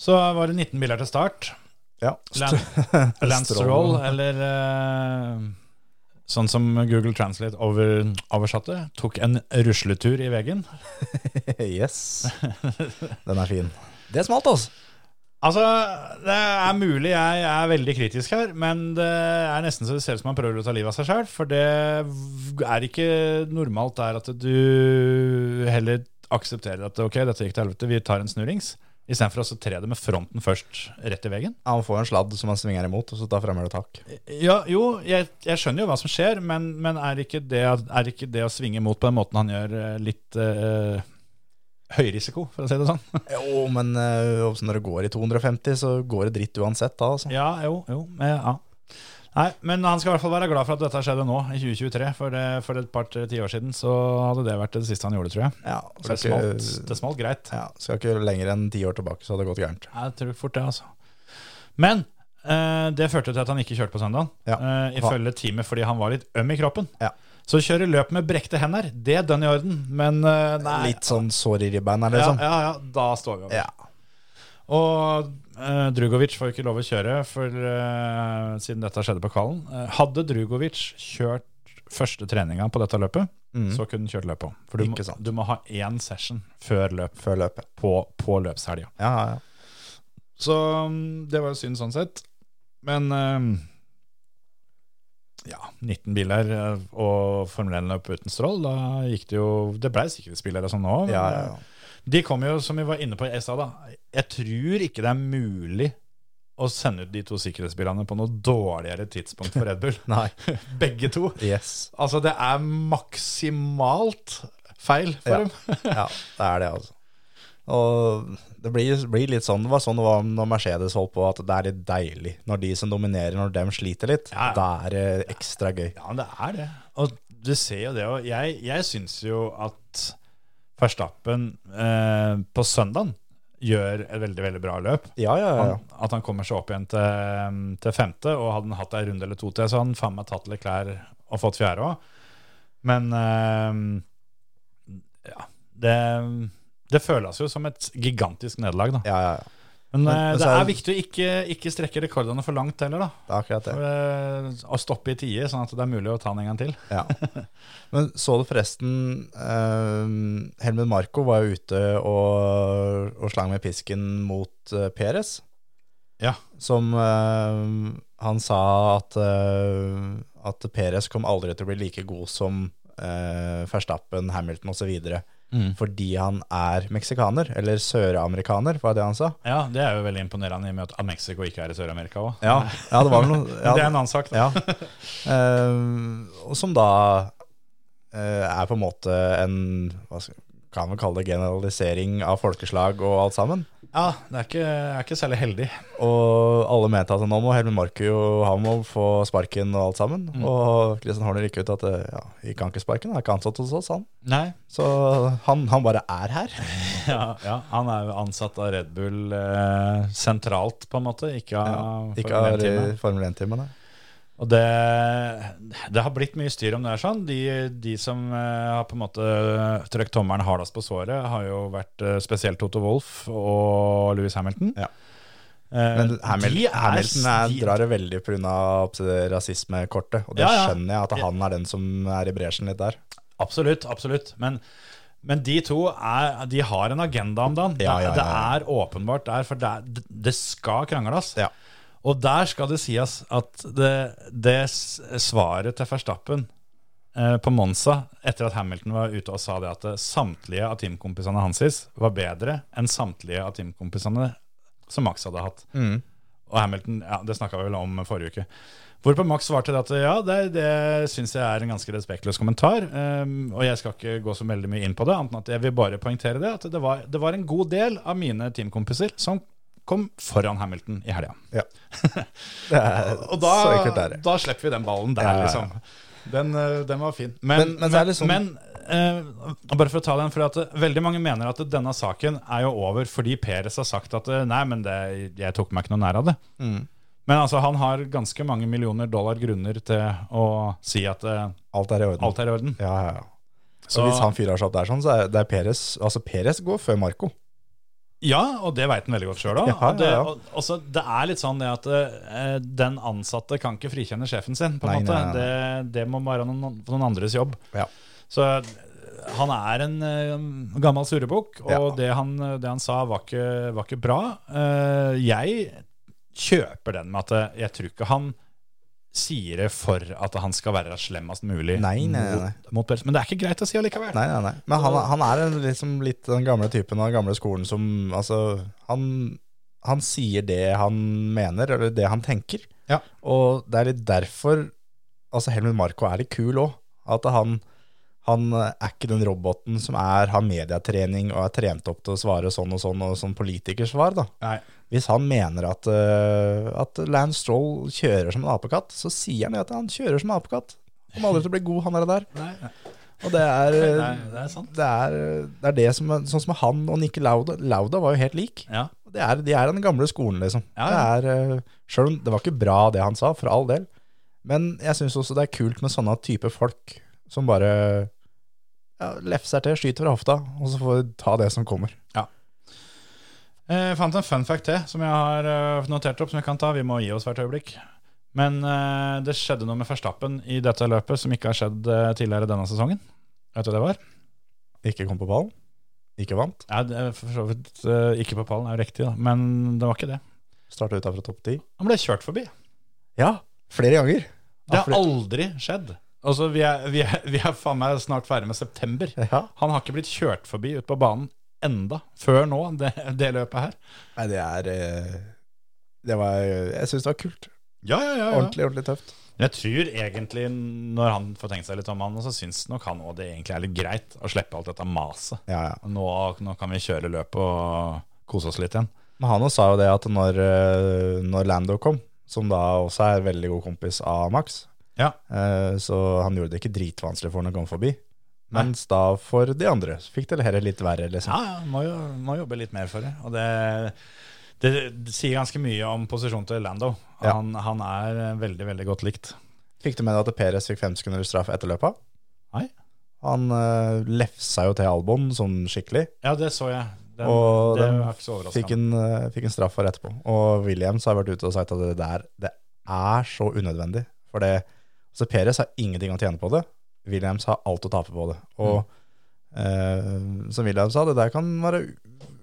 Speaker 3: Så var det 19 biler til start.
Speaker 4: Ja. *laughs*
Speaker 3: *laughs* Lan- Lance
Speaker 4: Stroll.
Speaker 3: Roll, eller eh, sånn som Google Translate over, oversatte, tok en rusletur i veggen.
Speaker 4: yes. Den er fin. Det smalt, altså.
Speaker 3: Altså, det er mulig jeg er veldig kritisk her, men det er nesten så det ser ut som han prøver å ta livet av seg sjøl. For det v- er ikke normalt der at du heller aksepterer at ok, dette gikk til helvete, vi tar en snurrings. Istedenfor å så tre det med fronten først rett i veggen.
Speaker 4: Han får en sladd som han svinger imot, og så tar fremmer det tak.
Speaker 3: Ja, jo, jeg, jeg skjønner jo hva som skjer, men, men er, ikke det, er ikke det å svinge imot på den måten han gjør, eh, litt eh, høy risiko, for å si det sånn?
Speaker 4: Jo, men eh, også når det går i 250, så går det dritt uansett da, altså.
Speaker 3: Ja, jo, jo. eh, Ja. Nei, men han skal i hvert fall være glad for at dette skjedde nå, i 2023. For, det, for et par-tre tiår siden så hadde det vært det siste han gjorde, tror jeg.
Speaker 4: Ja,
Speaker 3: For det
Speaker 4: skal
Speaker 3: smalt,
Speaker 4: ikke,
Speaker 3: det smalt greit.
Speaker 4: ja, skal ikke lenger enn ti år tilbake, så hadde det gått gærent.
Speaker 3: Jeg tror fort det, altså. Men eh, det førte til at han ikke kjørte på søndagen,
Speaker 4: Ja.
Speaker 3: eh, ifølge teamet, fordi han var litt øm i kroppen.
Speaker 4: Ja.
Speaker 3: Så å kjøre løp med brekte hender, det er dønn i orden, men eh, nei.
Speaker 4: Litt sånn sår i ribbeina,
Speaker 3: ja,
Speaker 4: liksom.
Speaker 3: ja, ja, da står vi over.
Speaker 4: Ja.
Speaker 3: Og eh, Drugovic får ikke lov å kjøre for, eh, siden dette skjedde på Kallen. Eh, hadde Drugovic kjørt første treninga på dette løpet,
Speaker 4: Mm.
Speaker 3: så kunne han kjørt løpet òg. For du må,
Speaker 4: Ikke sant.
Speaker 3: du må ha én session før løp
Speaker 4: Før løpet.
Speaker 3: på, på løpshelga.
Speaker 4: Ja, ja, ja.
Speaker 3: Så mm, det var jo synd sånn sett. Men eh, ja, 19 biler eh, og Formel 1-løp uten strål, da gikk det jo Det blei sikkerhetsbiler og sånn òg.
Speaker 4: ja, ja, ja.
Speaker 3: De kommer jo, som vi var inne på i stad, da. Jeg tror ikke det er mulig å sende ut de to sikkerhetsbilene på noe dårligere tidspunkt for Red Bull.
Speaker 4: *laughs* Nei.
Speaker 3: Begge to.
Speaker 4: Yes.
Speaker 3: Altså, det er maksimalt feil for
Speaker 4: Ja.
Speaker 3: dem.
Speaker 4: Ja, det er det, altså. Og det blir, blir litt sånn, det var sånn det var når Mercedes holdt på, at det er litt deilig. Når de som dominerer, når dem sliter litt,
Speaker 3: Ja, ja.
Speaker 4: da er det ekstra gøy.
Speaker 3: Ja, men det er det. Og du ser jo det. Og jeg, jeg syns jo at Verstappen eh, på søndagen gjør et veldig, veldig bra løp.
Speaker 4: Ja, ja, ja.
Speaker 3: Han, at han kommer seg opp igjen til, eh, til femte, og hadde han hatt ei runde eller to til, så hadde han faen meg tatt litt klær og fått fjerde òg. Men eh, ja, det, det føles jo som et gigantisk nederlag, da.
Speaker 4: ja, ja, ja.
Speaker 3: Men,
Speaker 4: Men-
Speaker 3: eh,
Speaker 4: men så
Speaker 3: det
Speaker 4: er-
Speaker 3: er viktig å ikke, ikke strekke rekordene for langt heller, da.
Speaker 4: Det er akkurat det.
Speaker 3: For, eh, å stoppe i tide, sånn at det er mulig å ta den en gang til.
Speaker 4: Ja. *laughs* Men så du forresten eh, Helmut Marko var jo ute og, og slang med pisken mot eh, Peres.
Speaker 3: Ja.
Speaker 4: Som eh, han sa at, eh, at Peres kom aldri til å bli like god som eh, Verstappen, Hamilton osv.
Speaker 3: Mm.
Speaker 4: Fordi han er meksikaner, eller søramerikaner, var det han sa?
Speaker 3: Ja, det er jo veldig imponerende i og med at Mexico ikke er i Sør-Amerika òg.
Speaker 4: Ja, ja det var vel noe ja,
Speaker 3: *laughs* Det er en annen sak.
Speaker 4: *laughs*
Speaker 3: Da.
Speaker 4: Ja. Eh, og som da eh, er på en måte en Hva skal, kan vi kalle det? Generalisering av folkeslag og alt sammen.
Speaker 3: Ja. Ja, det er ikke, jeg er ikke særlig heldig.
Speaker 4: Og alle mente at nå må Helmer Marku og han må få sparken og alt sammen.
Speaker 3: Mm.
Speaker 4: Og Christian Horner gikk ut at eh, ja, gikk han ikke sparken, han er ikke ansatt hos oss, han.
Speaker 3: Nei.
Speaker 4: Så han, han bare er her.
Speaker 3: Ja, ja, han er jo ansatt av Red Bull eh, sentralt, på en måte. Ikke av
Speaker 4: Ikke
Speaker 3: Formel
Speaker 4: har
Speaker 3: 1-teamet.
Speaker 4: i Formel 1-timen. nei.
Speaker 3: Og det, det har blitt mye styr om det her. sånn. De, de som eh, har på en måte trøkt tommelen hardest på såret, har jo vært eh, spesielt Toto Wolff og Louis Hamilton.
Speaker 4: Ja.
Speaker 3: Eh,
Speaker 4: Men Hamil,
Speaker 3: de er-
Speaker 4: Hamilton er,
Speaker 3: de-
Speaker 4: drar det veldig pga. rasismekortet, og det
Speaker 3: Ja, ja.
Speaker 4: skjønner jeg at han er den som er i bresjen litt der.
Speaker 3: Absolutt, absolutt. Men, men de to er, de har en agenda om dagen.
Speaker 4: Ja, ja, ja,
Speaker 3: Det
Speaker 4: ja.
Speaker 3: er åpenbart der, for det, er- det skal krangles.
Speaker 4: Ja.
Speaker 3: Og der skal det sies at det, det s- svaret til Verstappen eh, på Monza, etter at Hamilton var ute og sa det at eh, samtlige av teamkompisene hans var bedre enn samtlige av teamkompisene som Max hadde hatt.
Speaker 4: Mm.
Speaker 3: Og Hamilton, ja, det snakka vi vel om forrige uke. Hvorpå Max svarte det at ja, det, det syns jeg er en ganske respektløs kommentar. ehm, og jeg skal ikke gå så veldig mye inn på det, annet enn at jeg vil bare poengtere det. At det var, det var en god del av mine teamkompiser som kom foran Hamilton i helga. *laughs*
Speaker 4: Ja. Det er
Speaker 3: Og da,
Speaker 4: så enkelt er det.
Speaker 3: da slipper vi den ballen der,
Speaker 4: Ja, ja, ja.
Speaker 3: liksom. Den, eh, den var fin. Men, men,
Speaker 4: Men- men så er det sånn-
Speaker 3: eh, bare for å ta den, for at eh, veldig mange mener at denne saken er jo over fordi Peres har sagt at eh, nei, men det, jeg tok meg ikke noe nær av det. Men altså, han har ganske mange millioner dollar grunner til å si at eh,
Speaker 4: Alt er i orden.
Speaker 3: alt er i orden.
Speaker 4: Ja, ja, ja. Så
Speaker 3: Så-
Speaker 4: hvis han fyrer seg opp der sånn, så er det er Peres Altså, Peres går før Marco.
Speaker 3: Ja, og det veit han veldig godt sjøl òg.
Speaker 4: Ja, ja, ja.
Speaker 3: Det er litt sånn det at eh, den ansatte kan ikke frikjenne sjefen sin. på
Speaker 4: Nei,
Speaker 3: en måte.
Speaker 4: nei, nei,
Speaker 3: Det, det må være noen, noen andres jobb.
Speaker 4: Ja.
Speaker 3: Så eh, han er en eh, gammel surrebukk, og
Speaker 4: Ja.
Speaker 3: det, han, det han sa, var ikke, var ikke bra. Eh, jeg kjøper den med at eh, jeg tror ikke han sier det for at han skal være slemmest mulig
Speaker 4: Nei, nei, nei, nei.
Speaker 3: mot, mot Pels. Men det er ikke greit å si allikevel.
Speaker 4: Nei, nei, nei. Men han, han er en liksom litt den gamle typen av den gamle skolen som Altså, han, han sier det han mener, eller det han tenker.
Speaker 3: Ja.
Speaker 4: Og det er litt derfor Altså, Helmut Marco er litt kul òg. At han, han er ikke den roboten som er, har medietrening og er trent opp til å svare sånn og sånn, og sånn politikersvar, da.
Speaker 3: Nei.
Speaker 4: Hvis han mener at, eh, at Lance Stroll kjører som en apekatt, så sier han det at han kjører som en apekatt. Han kommer aldri til å bli god, han er det der.
Speaker 3: Nei, nei.
Speaker 4: Og det er, eh,
Speaker 3: *laughs* Nei, det er sant.
Speaker 4: det er, det er det som er- Sånn som han og Nikke Lauda Lauda var jo helt lik.
Speaker 3: Ja.
Speaker 4: Og Det er, de er den gamle skolen, liksom.
Speaker 3: Ja, ja.
Speaker 4: Det er, eh, selv om det var ikke bra, det han sa, for all del. Men jeg syns også det er kult med sånne type folk som bare ja, lefser til, skyter fra hofta, og så får vi ta det som kommer.
Speaker 3: Eh, Jeg fant en fun fact til som jeg har eh, notert opp, som jeg kan ta. Vi må gi oss hvert øyeblikk. Men eh, det skjedde noe med Verstappen i dette løpet som ikke har skjedd eh, tidligere denne sesongen. Vet du hva det var?
Speaker 4: Ikke kom på ballen, ikke vant,
Speaker 3: Ja, det er for så vidt eh, ikke på pallen, er jo riktig, da. Men det var ikke det.
Speaker 4: starta utafor topp ti.
Speaker 3: Han ble kjørt forbi.
Speaker 4: Ja, flere ganger.
Speaker 3: Det
Speaker 4: Ja,
Speaker 3: har
Speaker 4: fordi-
Speaker 3: aldri skjedd. Altså, vi er, vi er, vi er faen meg snart ferdig med september.
Speaker 4: Ja.
Speaker 3: Han har ikke blitt kjørt forbi ute på banen enda, før nå, det, det løpet her.
Speaker 4: Nei, det er eh, Det var Jeg syns det var kult.
Speaker 3: Ja, ja, ja. ja.
Speaker 4: Ordentlig, ordentlig tøft.
Speaker 3: Jeg tror egentlig, når han får tenkt seg litt om han, så syns nok han òg det egentlig er litt greit å slippe alt dette maset.
Speaker 4: Ja, ja.
Speaker 3: Nå, nå kan vi kjøre løpet og kose oss litt igjen.
Speaker 4: Men han også sa jo det at når, eh, når Lando kom, som da også er veldig god kompis av Max,
Speaker 3: Ja.
Speaker 4: eh, så han gjorde det ikke dritvanskelig for han å komme forbi. Mens da for de andre så fikk det heller litt verre,
Speaker 3: Ja,
Speaker 4: liksom.
Speaker 3: ja, må, jo, må jobbe litt mer for det. Og det, det, det sier ganske mye om posisjonen til Lando.
Speaker 4: Ja.
Speaker 3: Han, han er eh, veldig, veldig godt likt.
Speaker 4: Fikk du med deg at Perez fikk fem sekunder straff etter løpet?
Speaker 3: Nei.
Speaker 4: Han eh, lefsa jo til Albon sånn skikkelig,
Speaker 3: Ja, det så jeg. Den,
Speaker 4: og
Speaker 3: det
Speaker 4: den
Speaker 3: er ikke så
Speaker 4: fikk
Speaker 3: overraskende.
Speaker 4: en, eh, fikk en straff for etterpå. Og Williams har vært ute og sagt at det der det er så unødvendig. For det, altså Perez har ingenting å tjene på det. Williams har alt å tape på det. Og
Speaker 3: Mm.
Speaker 4: eh, som Williams sa, det der kan være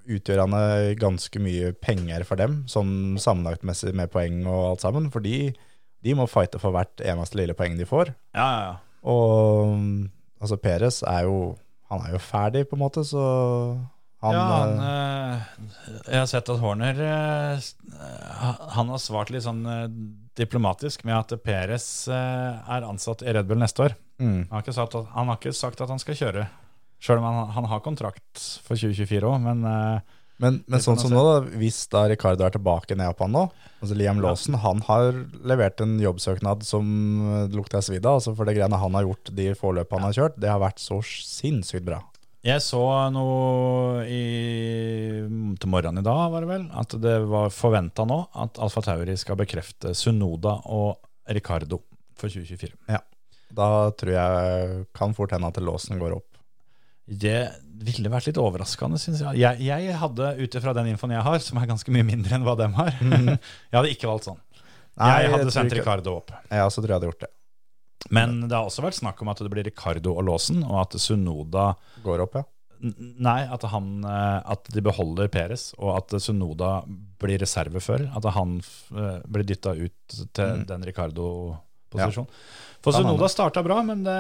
Speaker 4: utgjørende ganske mye penger for dem, sånn sammenlagtmessig med poeng og alt sammen. For de, de må fighte for hvert eneste lille poeng de får.
Speaker 3: Ja, ja, ja.
Speaker 4: Og mm, altså Perez er jo Han er jo ferdig, på en måte, så han,
Speaker 3: ja, han,
Speaker 4: eh,
Speaker 3: eh, jeg har sett at Horner eh, s- eh, Han har svart litt sånn eh, diplomatisk med at Peres er ansatt i Red Bull neste år.
Speaker 4: mm.
Speaker 3: Han har ikke sagt at han, har ikke sagt at han skal kjøre, sjøl om han, han har kontrakt for 2024 òg. Men eh,
Speaker 4: Men, men
Speaker 3: Det kan
Speaker 4: sånn
Speaker 3: jeg
Speaker 4: som
Speaker 3: se.
Speaker 4: nå, da, hvis da Ricardo er tilbake i Japan nå altså Liam Lawson han har levert en jobbsøknad som eh, lukter svidd av. Altså for det greiene han har gjort, de få løpene han har kjørt, det har vært så sinnssykt bra.
Speaker 3: Jeg så noe i, til morgenen i dag, var det vel, at det var forventa nå at Alfa Tauri skal bekrefte Sunoda og Ricardo for 2024.
Speaker 4: Da tror jeg kan fort hende at låsen går
Speaker 3: *laughs*
Speaker 4: opp.
Speaker 3: Det ville vært litt overraskende, syns jeg. jeg. Jeg hadde, ut ifra den infoen jeg har, som er ganske mye mindre enn hva dem har, jeg hadde ikke valgt sånn. jeg hadde
Speaker 4: Mm. tror
Speaker 3: sendt
Speaker 4: ikke-
Speaker 3: Ricardo opp.
Speaker 4: Ja, så tror jeg hadde gjort det.
Speaker 3: Men det har også vært snakk om at det blir Ricardo og Låsen, og at Sunoda
Speaker 4: Går opp, ja.
Speaker 3: N- Nei, at, han, eh, at de beholder Peres, og at Sunoda blir reservefører. At han f- eh, blir dytta ut til
Speaker 4: Mm.
Speaker 3: den Ricardo-posisjonen. For
Speaker 4: Kan hende.
Speaker 3: Sunoda starta bra, men det,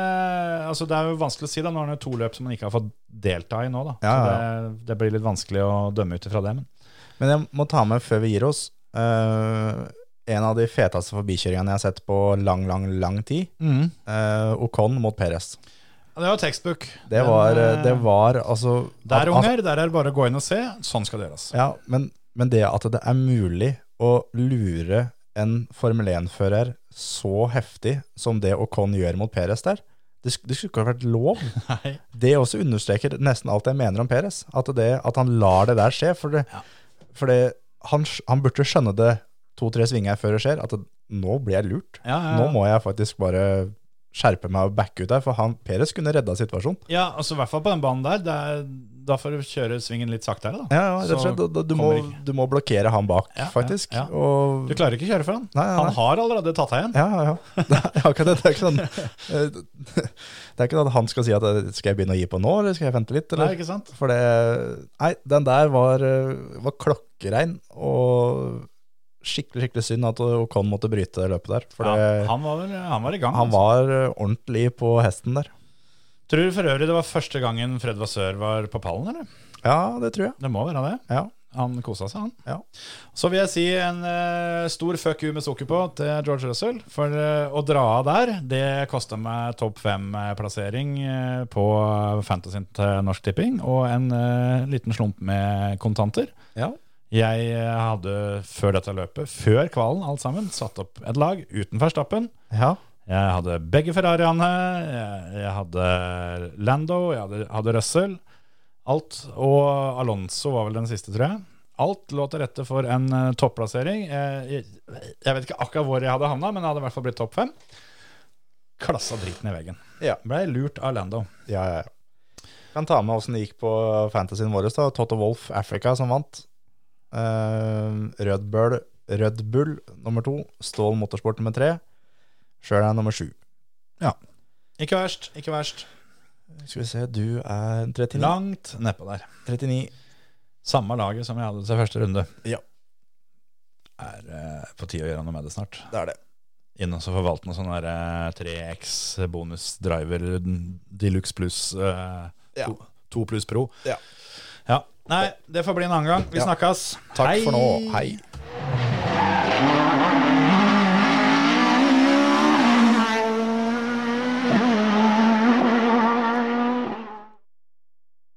Speaker 3: altså det er jo vanskelig å si. da Nå har han jo to løp som han ikke har fått delta i nå. da
Speaker 4: Ja,
Speaker 3: Så
Speaker 4: ja,
Speaker 3: det, det blir litt vanskelig å dømme ut ifra det. Men
Speaker 4: Men jeg må ta med før vi gir oss eh, En av de feteste forbikjøringene jeg har sett på lang, lang, lang tid. Eh, Ocon mot Perez.
Speaker 3: Ja, Det var tekstbok.
Speaker 4: Det var, eh, det var altså at- at-
Speaker 3: Der, unger, der er eh, det bare å gå inn og se. Sånn skal det gjøres.
Speaker 4: *laughs* Ja, men, men det at det er mulig å lure en Formel 1-fører så heftig som det Ocon gjør mot Perez der, det, sk- det skulle ikke ha vært lov.
Speaker 3: Nei.
Speaker 4: Det også understreker nesten alt jeg mener om Perez. At, det, at han lar det der skje. For, det, for det, han, sk- han burde skjønne det to-tre svinger før det skjer, at det, nå blir jeg lurt.
Speaker 3: Ja, ja, ja.
Speaker 4: Nå må jeg faktisk bare skjerpe meg og backe ut der, for han, Perez kunne redda situasjonen.
Speaker 3: Ja, altså i hvert fall på den banen der. Det er, da får du kjøre svingen litt saktere, da.
Speaker 4: Ja, ja, rett og
Speaker 3: Så
Speaker 4: slett. Du, du, må,
Speaker 3: kommer ikke-
Speaker 4: du må blokkere han bak,
Speaker 3: Ja, ja,
Speaker 4: faktisk.
Speaker 3: ja.
Speaker 4: Og,
Speaker 3: Du klarer ikke å kjøre for han.
Speaker 4: Nei, nei, nei.
Speaker 3: Han har allerede tatt deg igjen.
Speaker 4: Ja, ja, ja. *laughs* Det er akkurat det. Det er ikke sånn eh, *laughs* Det er ikke sånn at han skal si at eh, skal jeg begynne å gi på nå, eller skal jeg vente litt?
Speaker 3: Nei,
Speaker 4: Eller?
Speaker 3: ikke sant?
Speaker 4: For det Nei, den der var, eh, var klokkerein, og skikkelig, skikkelig synd at Ocon måtte bryte det løpet der. For det,
Speaker 3: ja, han, var, vel- han var i gang.
Speaker 4: Eh, han
Speaker 3: altså.
Speaker 4: var eh, ordentlig på hesten der.
Speaker 3: Tror du for øvrig det var første gangen Fred Vasør var på pallen, eller?
Speaker 4: Ja, det tror jeg.
Speaker 3: Det må være det.
Speaker 4: Ja.
Speaker 3: Han kosa seg, han.
Speaker 4: Ja.
Speaker 3: Så vil jeg si en eh, stor fuck you med sukker på til George Russell. For eh, å dra av der, det kosta meg topp fem-plassering eh, på Fantasyen til Norsk Tipping. Og en eh, liten slump med kontanter.
Speaker 4: Ja.
Speaker 3: Jeg eh, hadde før dette løpet, før kvalen alt sammen, satt opp et lag uten Verstappen.
Speaker 4: Ja,
Speaker 3: Jeg hadde begge Ferrariene, jeg, jeg hadde Lando, jeg hadde, hadde Russell. Alt, og Alonso var vel den siste, tror jeg. Alt lå til rette for en eh, topplassering. Jeg, jeg, jeg vet ikke akkurat hvor jeg hadde havna, men jeg hadde i hvert fall blitt topp fem. Klassa driten i veggen.
Speaker 4: Ja.
Speaker 3: Blei lurt av Lando.
Speaker 4: ja, ja. Kan ta med åssen det gikk på fantasyen vår. da. Toto Wolff Africa som vant. Eh, Rød Bull, Rød Bull nummer to. Stål Motorsport nummer tre. Sjøl er jeg nummer sju.
Speaker 3: Ikke verst, ikke verst.
Speaker 4: Skal vi se, du er 39.
Speaker 3: Langt nedpå der.
Speaker 4: 39.
Speaker 3: Samme laget som jeg hadde til første runde.
Speaker 4: Ja.
Speaker 3: Er eh, på tide å gjøre noe med det snart.
Speaker 4: Det er det.
Speaker 3: Inn og så forvalte noen sånne der, eh, 3X bonus driver Deluxe pluss eh,
Speaker 4: Ja.
Speaker 3: 2, 2 pluss pro.
Speaker 4: Ja.
Speaker 3: Ja. Nei, det får bli en annen gang. Vi
Speaker 4: Ja.
Speaker 3: snakkes.
Speaker 4: Takk for nå. Hei.